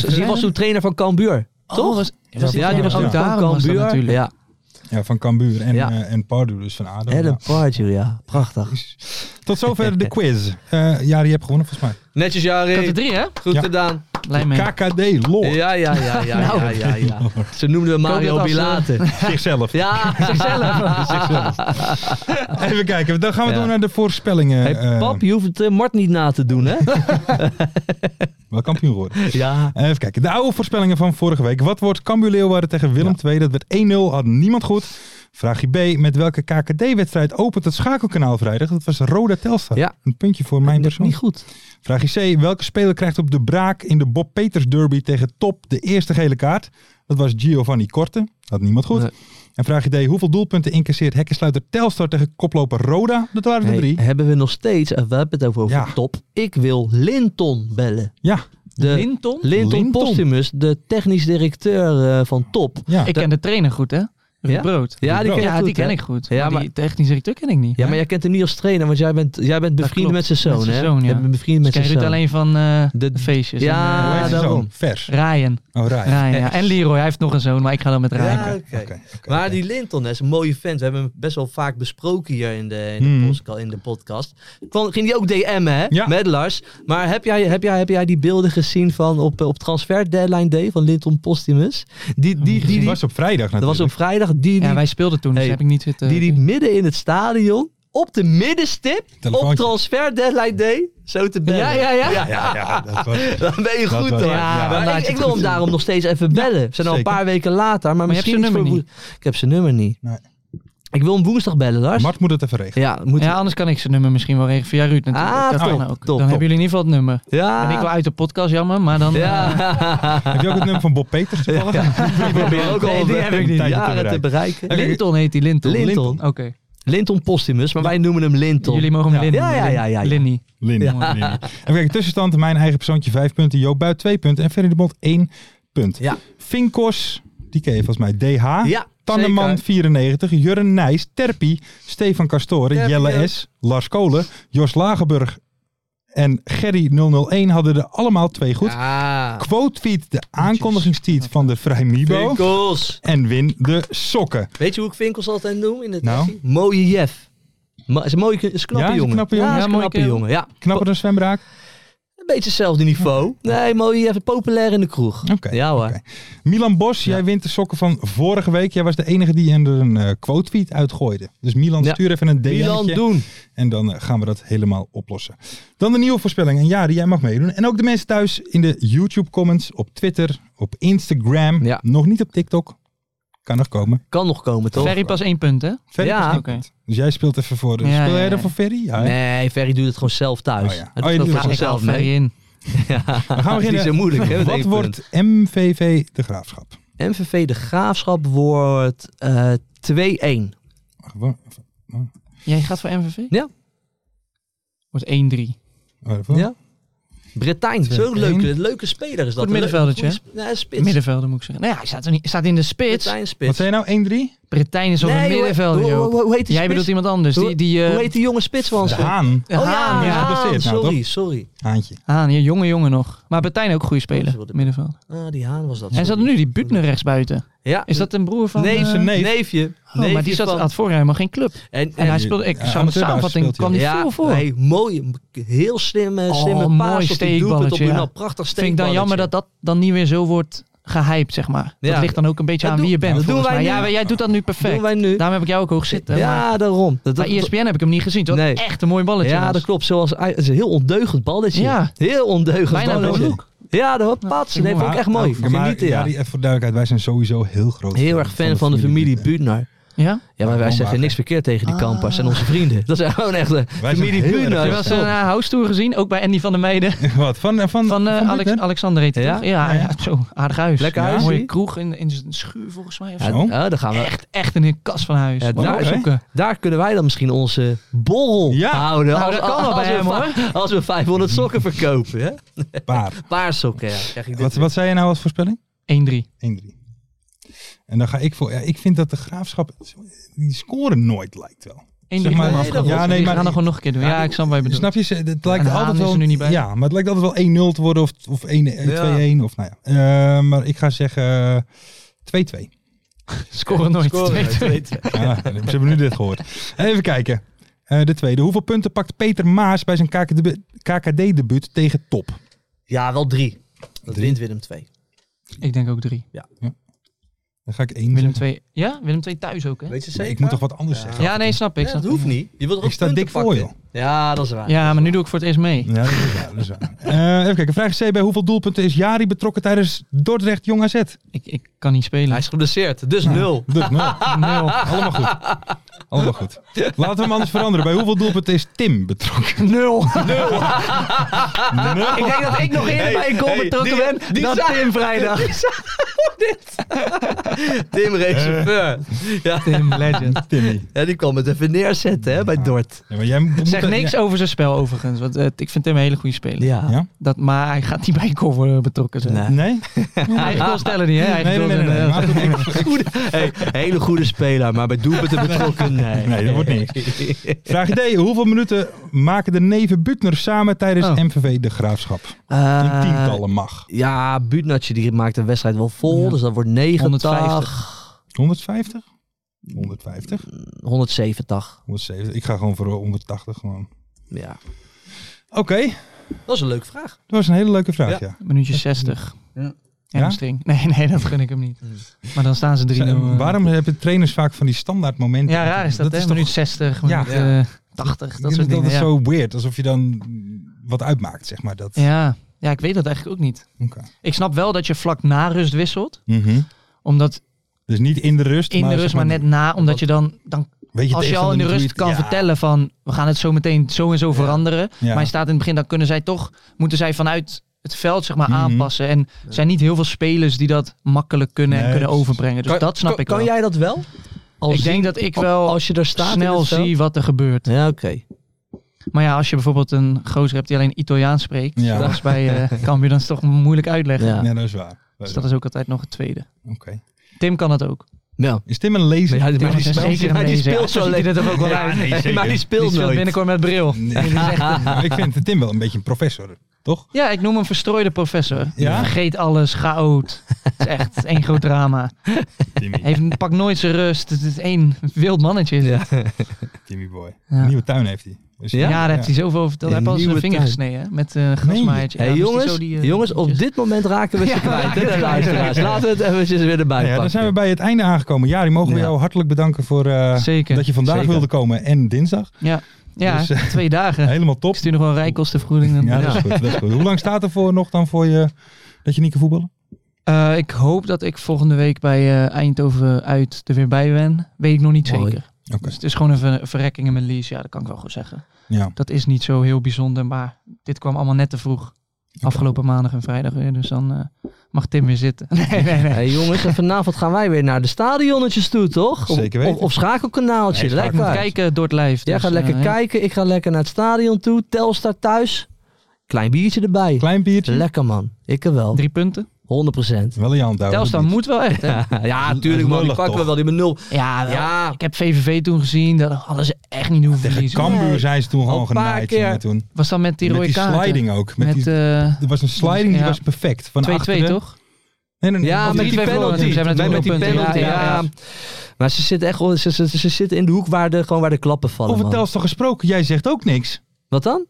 F: Die was toen trainer van Cambuur. Toch?
G: Oh, was-
E: was-
F: ja,
E: ja,
F: die was
E: ja.
F: ook daar
G: Daarom was dat
F: Cambuur.
G: natuurlijk.
F: Ja.
E: Ja, van Cambuur en,
F: Ja.
E: eh, en Pardew, dus van ADO.
F: En
E: ja.
F: een Pardew, ja. Prachtig.
E: Tot zover de quiz. Eh ja, die heb gewonnen volgens mij.
F: Netjes,
G: Ik had
F: Jari.
G: er drie, hè?
F: Goed
E: Ja.
F: gedaan.
G: Blij mee.
E: KKD, lol.
F: Ja, ja, ja, ja, ja, ja, ja. Ze noemden hem
G: Ik hoop
F: Mario
G: dat als,
F: Bilate.
E: Zichzelf.
F: Ja, eh, zichzelf.
E: Even kijken, dan gaan we
F: Ja.
E: door naar de voorspellingen.
F: Hey,
E: eh,
F: pap, je hoeft het eh, Mart niet na te doen, hè?
E: wel kampioen geworden.
F: Ja.
E: Even kijken, de oude voorspellingen van vorige week. Wat wordt Cambuur Leeuwarden tegen Willem II? Dat werd 1-0, had niemand goed. Vraagje B, met welke KKD-wedstrijd opent het schakelkanaal vrijdag? Dat was Roda Telstar.
F: Ja.
E: Een puntje voor mijn persoon.
F: Niet goed.
E: Vraagje C, welke speler krijgt op de braak in de Bob Peters derby tegen Top de eerste gele kaart? Dat was Giovanni Korte. Had niemand goed.
F: Nee.
E: En vraagje D, hoeveel doelpunten incasseert hekkensluiter Telstar tegen koploper Roda? Dat waren er
F: Hey,
E: drie.
F: hebben we nog steeds, eh, we hebben het over, over
E: Ja.
F: top. Ik wil Linton bellen.
E: Ja,
F: De Linton,
G: Linton?
E: Linton.
F: Postumus, de technisch directeur eh, van top.
E: ja.
G: Ik ken de trainer goed, hè?
F: Ja?
G: Ja? Brood.
F: Ja, die ken,
G: ja,
F: je goed,
G: die ken
F: hè?
G: ik goed.
F: Ja,
G: maar,
F: maar-
G: die technische directeur ken ik niet.
F: Ja, maar jij kent hem niet als trainer, want jij bent, jij bent bevriend
G: klopt.
F: met zijn
G: Met
F: zoon,
G: zijn
F: hè?
G: zoon, ja.
F: Je bent bevriend
G: ik
F: met zijn
G: ken Dus Ruud
F: zoon.
G: alleen van eh,
F: De-
G: de feestjes.
F: Ja,
G: en,
E: Hoe
G: eh,
E: heet die
F: Ah, daarom.
E: zoon? Vers.
G: Ryan.
E: Oh, Rijn.
G: Ryan ja. En Leroy, hij heeft nog een zoon, maar ik ga dan met Ryan.
F: Ja, oké.
E: Oké, oké, oké.
F: Maar die Linton hè, is een mooie vent. We hebben hem best wel vaak besproken hier in de, in de,
E: Hmm.
F: postca- in de podcast. Kwam- ging die ook DM'en, hè?
E: Ja.
F: Met Lars. Maar heb jij, heb, jij, heb jij die beelden gezien van op, eh, op Transfer Deadline Day van Linton Postumus? Die, die, die,
E: Die
F: die-
E: was op vrijdag
F: dat was op
E: natuurlijk.
F: vrijdag. Die, die
G: Ja, wij speelden toen, dus
F: Hey,
G: heb ik niet zitten...
F: die die midden in het stadion op de middenstip
E: Telefoontje.
F: op transfer deadline day zo te bellen.
G: Ja, ja, ja.
E: Ja, ja, dat was...
F: Dan ben je
E: Dat
F: goed
E: was-
F: hoor.
E: ja,
F: Maar
G: dan laat
F: ik,
G: je
F: ik
G: het
F: wil hem
G: goed
F: daarom nog steeds even bellen. We zijn al een
E: zeker.
F: paar weken later, maar,
G: je
F: misschien
G: hebt zijn
F: iets
G: nummer
F: voor woe- Ik heb zijn nummer niet.
E: Nee.
F: Ik wil hem woensdag bellen, Lars.
E: Mart moet het even regelen.
F: ja, moet
G: Ja, anders kan ik zijn nummer misschien wel regelen via Ruud natuurlijk.
F: Ah,
G: dat
F: top,
G: kan ook.
F: top, top.
G: dan hebben jullie in ieder geval het nummer.
F: ja.
G: En ik wel uit de podcast, jammer, maar dan...
F: Ja.
G: eh,
E: Heb je ook het nummer van Bob Peters toevallig?
F: Ik probeer ook
G: Nee,
F: al
G: die heb ik
F: een
G: niet.
F: jaren te bereiken.
G: Linton heet die, Linton.
F: Linton.
G: Oké.
F: Linton Postumus, maar wij noemen hem Linton.
G: Jullie mogen hem Linton
F: Ja, ja, ja, ja, ja.
G: Linny.
E: Lin.
F: Ja.
E: Lin. Even kijken, tussenstand. Mijn eigen persoontje 5 punten. Joop Buit 2 punten. En Ferry de Bond 1 punt.
F: Ja.
E: Vinkos, die ken je volgens mij. DH.
F: Ja,
E: Tanneman 94, Jurren Nijs, Terpie, Stefan Kastoren,
B: Terpie ook.
E: Jelle S, Lars Kolen, Jos Lagerburg en Gerry 001 hadden er allemaal twee goed.
F: Ah,
E: Quotefeed, de aankondigingsteat van de Vrij Mibo.
F: Vinkels.
E: En win de sokken.
F: Weet je hoe ik Vinkels altijd noem in het
E: Nou?
F: nou? Mooie Jef. Ma is een mooie, is een knappe
E: Ja, is een
F: jongen.
E: knappe jongen.
F: Ja, is een
G: Ja, mooie
F: knappe
G: kerel.
F: jongen. Ja,
E: Knapper dan zwembraak.
F: een beetje hetzelfde niveau. Nee, mooie Jef, populair in de kroeg.
E: Oké,
F: Ja hoor.
E: oké. Milan Bos, jij wint de sokken van vorige week. Jij was de enige die er een eh, quotefeed uitgooide. Dus Milan,
F: Ja.
E: stuur even een
F: Milan
E: DM'tje.
F: doen.
E: En dan eh, gaan we dat helemaal oplossen. Dan de nieuwe voorspelling. En ja, die jij mag meedoen. En ook de mensen thuis in de YouTube comments, op Twitter, op Instagram.
F: Ja.
E: Nog niet op TikTok. Kan nog komen.
F: Kan nog komen toch?
G: Ferry pas één punt, hè?
E: Ferry
F: Ja.
E: is niet
G: Oké.
E: bekend. Dus jij speelt even voor.
G: Ja,
E: Speel
G: ja,
E: jij
G: ja.
E: dan voor Ferry? Ja, hè?
F: Nee, Ferry doet het gewoon zelf thuis.
E: Oh ja.
F: Hij
E: Oh,
F: doet
E: je doet
F: het ook
E: het
F: gewoon
G: Ik
F: zelf
G: haal Ferry
F: mee.
G: in.
E: We gaan
F: Dat is
E: beginnen.
F: niet zo moeilijk, hè, met
E: Wat
F: één
E: wordt MVV de Graafschap?
F: MVV De Graafschap wordt eh 2-1.
E: Gewoon even-
G: Jij gaat voor MVV?
F: Ja.
G: Wordt 1-3.
E: oh, even.
F: Ja. Bretijn, zo'n
E: 2-1.
F: leuke, leuke speler is dat.
G: Goed middenveldertje,
F: Een goede sp- Ja, spits.
G: Middenvelder moet ik zeggen. Nou ja, hij staat, er niet, staat in de spits.
F: Bretijn,
E: Wat
F: spits.
E: zei je nou? 1-3?
G: Bretijn is op
F: Nee,
G: een
F: hoe-
G: middenvelder,
F: hoe-
G: joh.
F: hoe- hoe heet die
G: Jij
F: spits?
G: bedoelt iemand anders. Die, die, eh,
F: Hoe heet die jonge spits van ons?
E: De Haan.
G: Haan.
F: Haan,
E: die is
G: ja.
E: geblesseerd nou,
F: sorry, sorry.
E: Haantje.
G: Haan, ja, jonge jongen nog. Maar Bretijn ook goede
F: Dat is
G: speler,
F: wel de-
G: middenveld.
F: Ah, die Haan was dat.
G: En zat
F: sorry.
G: nu die Butner rechts buiten.
F: Ja.
G: Is dat een broer van...
F: neef,
G: eh,
E: zijn neef.
F: neefje?
G: Oh, maar
F: Neefje
G: die zat,
F: van-
G: had vorig jaar helemaal geen club.
F: En,
G: En
F: en
G: hij speelde, ik
E: Ja,
G: zag de
E: amateurbasis
G: samenvatting,
E: speelt hij.
G: kwam die veel voor.
F: nee, mooi, m- heel slim, eh,
G: Oh,
F: slimme
G: mooi
F: paas op die doelpunt op
G: steekballetje,
F: Brunel.
G: ja.
F: Prachtig
G: Vind ik dan
F: steekballetje.
G: jammer dat dat dan niet weer zo wordt gehyped, zeg maar.
F: Ja.
G: Dat ligt dan ook een beetje
F: Dat
G: aan
F: doen-
G: wie je bent,
F: dat doen
G: volgens
F: wij
G: mij. Ja,
F: nu.
G: maar jij doet dat nu perfect.
F: doen wij nu.
G: Daarom heb ik jou ook hoog zitten.
F: ja,
G: maar
F: daarom. Dat,
G: bij E
F: dat-
G: ESPN heb ik hem niet gezien. Het was
F: Nee.
G: echt een mooi balletje.
F: ja,
G: was.
F: dat klopt. Zoals, ah, het is een heel ondeugend balletje.
G: Ja.
F: Heel ondeugend
G: Bijna
F: balletje.
G: een look.
F: Ja, dat pats.
G: Ja,
F: Nee, vond ik
E: Maar-
F: echt mooi.
E: nou, maar,
F: Genieten, ja.
E: die, even voor duidelijkheid, wij zijn sowieso heel groot.
F: Heel erg fan van de familie Buutner.
G: Ja?
F: Ja, maar wij
E: Woonwagen.
F: zeggen niks verkeerd tegen
G: Ah.
F: die kampers en onze vrienden. Dat zijn gewoon echt de
E: zijn heel
F: familie
E: erg
F: Buutner.
E: fan.
G: Heb je wel eens een eh, house tour gezien? Ook bij Andy van der Meijden.
E: Wat? Van, van, van,
G: Van eh,
E: Buutner?
G: Alex, Alexander heet hij
F: Ja?
G: toch?
E: Ja,
G: Ja, ja,
E: ja.
G: zo. Aardig huis.
F: Lekker
G: Ja.
F: huis,
G: Mooie
F: zie.
G: kroeg in, in zijn schuur volgens mij. Of
F: Ja,
G: zo.
E: Zo.
F: ja, daar gaan we.
G: Echt, echt in een kast van huis.
F: Ja,
G: Moet
F: daar-
G: je opzoeken.
F: Daar kunnen wij dan misschien onze borrel
E: Ja.
F: houden.
G: Nou, dat kan wel bij
F: we
G: hem,
F: va- Als we 500 sokken verkopen. Hè?
E: Paar.
F: Paar sokken, ja. Krijg ik dit
E: Wat, wat zei je nou als voorspelling?
G: 1-3.
E: 1-3. En dan ga ik voor. Ja, ik vind dat de graafschap. Die scoren nooit lijkt wel.
G: 1-3
E: Zeg maar-
G: gewoon
E: Nee,
G: afgerond.
E: dat- ja, nee,
G: Die
E: maar-
G: gaan dan gewoon nog een keer doen. Ja, ik snap wat je bedoelt.
E: Snap je? Ze- Het lijkt
G: En Haan
E: altijd
G: is
E: wel.
G: er nu niet bij.
E: Ja, maar het lijkt altijd wel 1-0 te worden of, of 1-1, 2-1 of nou ja. Eh, maar ik ga zeggen eh, 2-2.
G: Scoren nooit.
F: scoren?
G: 2-2.
E: Ja, Ah, ze hebben nu dit gehoord. Even kijken. Eh, de tweede. Hoeveel punten pakt Peter Maas bij zijn KKD-debuut tegen Top?
F: Ja, wel drie. Dat
E: Drie.
F: wint Willem 2.
G: Ik denk ook 3.
E: Dan ga ik één. zeggen.
G: Willem 2. Ja, Willem 2 thuis ook, hè?
F: Weet je
E: Nee,
F: zeker?
E: ik moet toch wat anders zeggen?
G: Ja, nee, snap ik.
F: Ja,
G: snap
F: dat hoeft
G: ik.
F: niet. Je wilt er ook
E: Ik sta
F: punten
E: dik voor,
F: pakken. Ja, dat is waar.
G: Ja, maar nu doe ik voor het eerst mee.
E: Ja, dat is waar. Dat is waar. Eh, even kijken. Vraag C. Bij hoeveel doelpunten is Jari betrokken tijdens Dordrecht Jong AZ?
G: Ik, ik kan niet
F: Hij
G: spelen.
F: is geblesseerd, dus nul.
E: Doe, nou,
G: Nul.
E: allemaal goed. Allemaal goed. Laten we hem anders veranderen. Bij hoeveel doelpunten is Tim betrokken?
G: Nul. Ik denk dat ik nog eerder bij een goal betrokken ben dan Tim vrijdag.
F: Tim Reeser. Ja.
G: Tim Legend.
E: Timmy.
F: ja, die kwam het even neerzetten hè, bij Dort.
E: Ja, maar jij moet,
G: Zegt niks
E: ja,
G: over zijn spel overigens. Want eh, ik vind hem een hele goede speler.
F: Ja.
E: Ja?
G: Dat, maar hij gaat niet bij een goal worden betrokken zijn.
F: Nee.
E: Nee? Ah.
G: Eigen goal stellen niet, hè? Eigen
E: Nee, nee,
G: goals
E: nee. nee, nee.
G: en, eh,
E: Maar goed, ik-
F: Goede, hey, hele goede speler, maar bij doelpunten betrokken, nee.
E: Nee, dat wordt niks. Vraag D. Hoeveel minuten maken de neven Butner samen tijdens
G: Oh.
E: MVV de Graafschap?
F: Eh,
E: In tientallen mag.
F: Ja, Buutnatje die maakt de wedstrijd wel vol,
G: Ja.
F: dus dat wordt 90,
G: 150.
E: 150? 150?
F: 170.
E: 170? Ik ga gewoon voor 180 gewoon.
F: Ja.
E: Oké,
F: Dat is een leuke vraag.
E: dat was een hele leuke vraag, ja.
F: Ja.
G: Minuutje 60.
F: Ja.
G: Hamstring. Nee, nee, dat gun ik hem niet. Maar dan staan ze drie. eh.
E: Zijn- waarom hebben trainers vaak van die standaard momenten?
G: Ja, raar is dat, hè?
E: toch-
G: minuut 60,
E: Ja.
G: minuut eh, 80,
E: ik
G: dat
E: vind
G: soort
E: dat
G: dingen.
E: is
G: ja.
E: zo weird, alsof je dan wat uitmaakt, zeg maar. Dat.
G: Ja. ja, ik weet dat eigenlijk ook niet.
E: Oké.
G: Ik snap wel dat je vlak na rust wisselt.
E: Mhm.
G: Omdat
E: Dus niet in de rust,
G: in de rust,
E: zeg
G: maar net na. Omdat je dan, dan
E: weet je
G: als je al in de
E: tegenstander
G: rust
E: niet hoe
G: kan
E: je het- ja,
G: vertellen van... we gaan het zo meteen zo en zo veranderen.
E: ja.
G: Maar je staat in het begin, dan kunnen zij toch... moeten zij vanuit het veld zeg maar
E: Mhm.
G: aanpassen. En er zijn niet heel veel spelers die dat makkelijk kunnen en
E: Nee,
G: kunnen
E: precies.
G: overbrengen. Dus dat snap
F: kan,
G: ik wel.
F: Kan jij dat wel? Al
G: ik
F: zien-
G: denk dat ik wel
F: Als je daar staat in
G: snel
F: het veld?
G: zie wat er gebeurt.
F: Ja, oké.
G: Maar ja, als je bijvoorbeeld een gozer hebt die alleen Italiaans spreekt...
E: Ja.
G: zoals bij eh Cambuur, dan is het toch moeilijk uitleggen.
F: Ja.
E: Ja, dat is waar. Dat is
G: Dus dat is ook altijd nog het tweede.
E: waar. Oké.
G: Tim kan het ook.
F: Ja.
E: Is Tim een lezer?
F: Maar ja, maar
G: Tim is zeker
F: maar die
G: een
F: speelt
G: lezer.
F: zo
G: Zo ziet hij
F: leuk.
G: dat er ook wel
E: Ja,
G: uit.
E: nee, zeker.
F: maar die
G: Die
F: speelt
G: speelt
F: nooit.
G: binnenkort met bril. eh,
E: Nee, dat is echt een- maar ik vind Tim wel een beetje een professor, toch?
G: Ja, ik noem hem verstrooide professor.
E: Ja?
G: Die Vergeet alles, chaot. Het is echt één groot drama.
E: Timmy,
G: Heeft, pakt nooit zijn rust. Het is één wild mannetje. is het.
E: Timmy boy.
G: Ja.
E: Nieuwe tuin heeft hij. Dus
G: Ja,
F: Ja?
G: daar heeft hij zoveel over verteld. Hij
F: Een
G: heeft al zijn
F: nieuwe
G: vinger
F: tuin.
G: gesneden hè, met een grasmaaiertje.
F: Hé
G: Ja, moest hij
F: jongens,
G: zo die, eh,
F: jongens, op dit moment raken we ze
G: Ja, we
F: kwijt.
G: raken
F: hè, de
G: ze kwijt.
F: luisteraars. Laten we het eventjes weer erbij
E: Nou ja, dan
F: pakken.
E: zijn we bij het einde aangekomen. Jari, mogen we
F: Ja.
E: jou hartelijk bedanken voor eh,
G: Zeker.
E: dat je vandaag
F: Zeker.
E: wilde komen en dinsdag.
G: Ja, ja
E: Dus, eh,
G: twee dagen.
E: Helemaal top.
G: Ik stuur nog wel een rijkostenvergoeding.
E: Ja,
G: Ja,
E: dat is goed. Dat is goed. Hoe lang staat er voor nog dan voor je dat je niet kan voetballen?
G: Eh, ik hoop dat ik volgende week bij eh, Eindhoven uit er weer bij ben. Weet ik nog niet
F: Mooi.
G: zeker.
E: Oké.
G: Dus het is gewoon een ver- verrekking in mijn lease. Ja, dat kan ik wel goed zeggen.
E: Ja.
G: Dat is niet zo heel bijzonder, maar dit kwam allemaal net te vroeg. Afgelopen maandag en vrijdag weer. Dus dan eh, mag Tim weer zitten. Nee, nee, nee.
F: Hey jongens, en vanavond gaan wij weer naar de stadionnetjes toe, toch? Of-
E: Zeker weten.
F: Of, of schakelkanaaltje,
E: Nee,
F: lekker.
E: schakel-
G: Kijken door het lijf.
F: Jij
G: dus,
F: gaat lekker
G: eh, ja.
F: kijken, ik ga lekker naar het stadion toe. Telstar thuis. Klein biertje erbij.
E: Klein biertje.
F: Lekker man, ik er wel. 100%.
G: Drie punten.
E: Wel in je hand houden.
G: Telstar
E: Oh, Niet.
G: moet wel echt. Hè?
F: Ja,
E: Dat is
F: tuurlijk man, die
E: lullig
F: pakken we
E: toch?
F: wel, die met nul.
G: Ja, wel.
F: Ja,
G: ik heb VVV toen gezien. Dat hadden ze echt niet hoeven
E: Tegen
G: verliezen.
E: Cambuur zijn ze toen
F: Al
E: gewoon
F: een paar
E: genaaid.
F: keer.
E: jongen, Toen.
G: Was dat met die
E: Met
G: rode
E: die
G: kaarten?
E: sliding ook. Met
G: Met
E: die,
G: eh,
E: er was een sliding die
G: Ja.
E: was perfect. Van
G: 2-2
E: achteren.
G: toch?
E: Nee, nee, nee.
F: Ja,
E: Of
F: met
E: drie-
F: die
G: twee
F: penalty.
G: verloren. Ze hebben
F: Wij met
G: natuurlijk
F: die
G: nul
F: penalty,
G: punten. Ja,
F: ja.
G: ja.
F: Maar ze zitten echt gewoon, ze, ze, ze zitten in de hoek waar de, gewoon waar de klappen vallen,
E: Over
F: man.
E: Telstar gesproken, jij zegt ook niks.
F: Wat dan?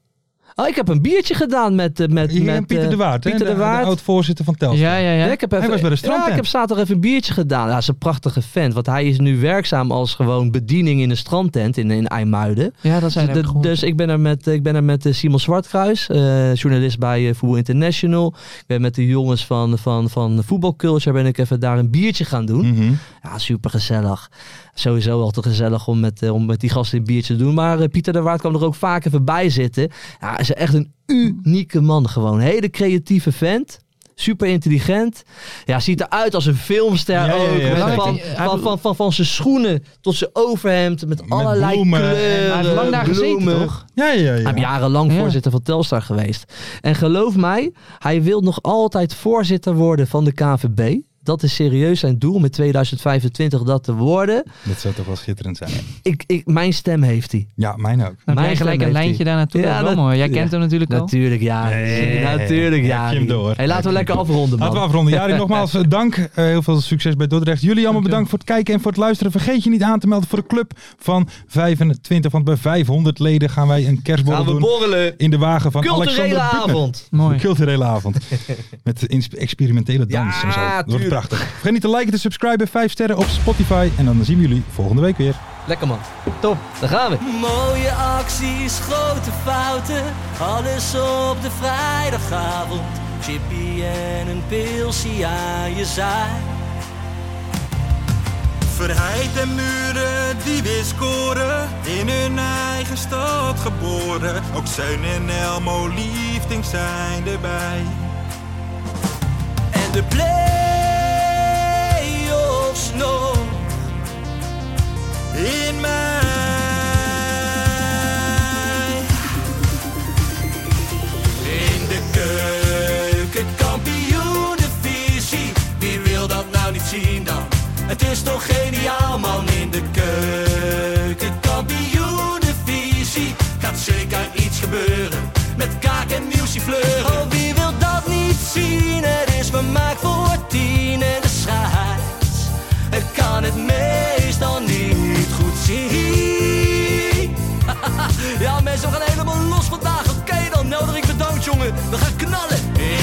F: Oh, ik heb een biertje gedaan met... eh, met,
E: Hier
F: met
E: en Pieter
F: eh,
E: de Waard, hè,
F: Pieter de Waard.
E: oud-voorzitter van Telstar.
G: Ja, ja,
F: Ja,
G: ja.
F: ik heb even,
E: Hij was bij de
F: ja,
E: strandtent.
F: ik heb zaterdag even een biertje gedaan. Ja, hij is een prachtige vent. Want hij is nu werkzaam als gewoon bediening in een strandtent in, in IJmuiden.
G: Ja, dat zijn
F: Dus,
G: er
F: dus ik ben er met, ik ben er met eh, Simon Zwartkruis, eh, journalist bij eh, Voetbal International. Ik ben met de jongens van, van, van Voetbalculture ben ik even daar een biertje gaan doen.
E: Mhm.
F: Ja, super gezellig. Sowieso altijd gezellig om met, eh, om met die gasten een biertje te doen. Maar eh, Pieter de Waard kwam er ook vaak even bij zitten. Ja, hij is echt een unieke man gewoon. Hele creatieve vent. Super intelligent. Ja, ziet eruit als een filmster
E: Ja, ja, ja,
F: ook.
E: ja,
F: Met
E: zeker.
F: van, van, van, van, van zijn schoenen tot zijn overhemd. Met, allerlei
E: bloemen.
F: kleuren.
G: Hij heeft lang daar gezeten,
F: bloemen.
G: toch?
E: Ja, ja, ja.
F: Hij heeft jarenlang
G: Ja.
F: voorzitter van Telstar geweest. En geloof mij, hij wil nog altijd voorzitter worden van de KVB. Dat is serieus zijn doel met 2025 dat te worden.
E: Dat zou toch wel schitterend zijn.
F: Ik, ik, mijn stem heeft hij.
E: Ja, mijn ook.
G: Dan heb jij
F: Mijn
G: gelijk
F: stem
G: een
F: heeft
G: lijntje
F: hij.
G: daar naartoe.
F: Ja,
G: Ja,
F: dat-
G: mooi. Jij
F: ja.
G: kent hem natuurlijk al.
F: Natuurlijk ja.
E: Nee.
F: Natuurlijk
E: Heb
F: ja.
E: je hem door?
F: Hey,
E: Heb
F: laten
E: je
F: we
E: hem
F: lekker
E: door.
F: afronden man.
E: Laten we afronden. Jari, nogmaals eh, dank. Eh, heel veel succes bij Dordrecht. Jullie allemaal bedankt voor het kijken en voor het luisteren. Vergeet je niet aan te melden voor de club van 25. Want bij 500 leden gaan wij een kerstborrel
F: Gaan we
E: doen.
F: borrelen.
E: in de wagen van
F: Culturele
E: Alexander Butner.
F: avond.
E: Een
G: Mooi.
E: culturele avond. Met ins- experimentele dans
F: Ja,
E: en zo. Dat wordt
F: tuurlijk.
E: prachtig. Vergeet niet te liken, te subscriben, 5 sterren op Spotify. En dan zien we jullie volgende week weer.
F: Lekker man. Top. Daar gaan we.
C: Mooie acties, grote fouten, alles op de vrijdagavond. Chippy en een pilsie aan je zaai.
D: Verheid en muren die weer scoren, in hun eigen stad geboren. Ook Zeun en Elmo liefding zijn erbij.
C: En de play-offs nog
D: In mij.
C: in de keuken, kampioenenvisie. Wie wil dat nou niet zien dan? Het is toch geniaal man in de keuken, kampioenenvisie. Gaat zeker iets gebeuren met kaak en muziek fleuren. Oh, wie wil dat niet zien? Het is vermaakt voor tien en de scheids. Het kan het meestal niet goed zien. Ja, mensen, we gaan helemaal los vandaag. Oké, dan nodig ik bedankt, jongen. We gaan knallen.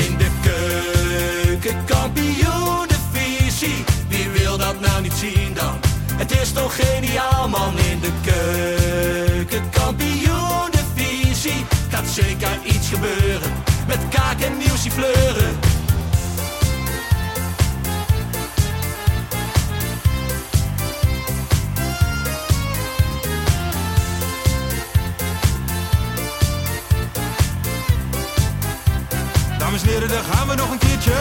C: In de keuken, kampioenenvisie. Wie wil dat nou niet zien dan? Het is toch geniaal, man. In de keuken, kampioenenvisie. Gaat zeker iets gebeuren. Met kaak en nieuwsie fleuren.
D: Dames en heren, daar gaan we nog een keertje.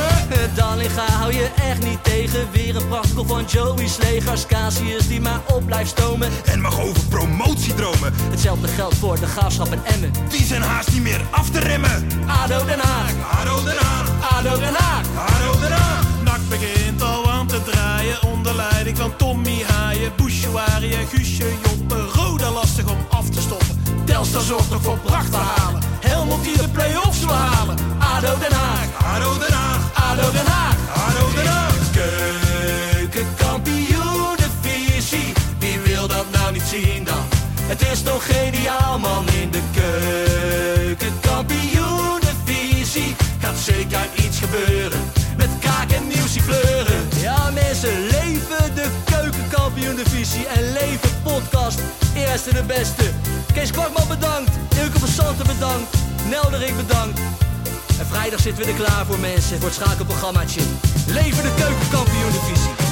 C: Dallinga hou je echt niet tegen. Weer een prachtkel van Joey's legers. Casius die maar op blijft stomen.
D: En mag over promotiedromen,
C: Hetzelfde geldt voor de graafschap en Emmen.
D: die zijn haast niet meer af te remmen.
C: ADO Den Haag,
D: Haro Den Haag,
C: ADO Den Haag.
D: Haro Den Haag.
I: Nak begint al aan te draaien onder leiding.
C: ben ik van Tommy Haaien, Bouchouari en Guusje Joppen. Roda lastig om af te stoppen. Telstar zorgt nog voor pracht te halen. Helmond die de play-offs wil halen. ADO Den Haag. ADO Den Haag. ADO Den Haag. ADO Den Haag. Keukenkampioenenvisie. Wie wil dat nou niet zien dan? Het is toch geniaal man in de keukenkampioenenvisie. Gaat zeker iets gebeuren. Met kaak en nieuwsie fleuren. Ja mensen, leven de keukenkampioenenvisie. En leven podcast. Eerste de beste. Kees Kwakman bedankt. Ilke van Santen bedankt. Nelderik bedankt. En vrijdag zitten we er klaar voor mensen. Voor het schakelprogrammaatje. Leven de keukenkampioenenvisie.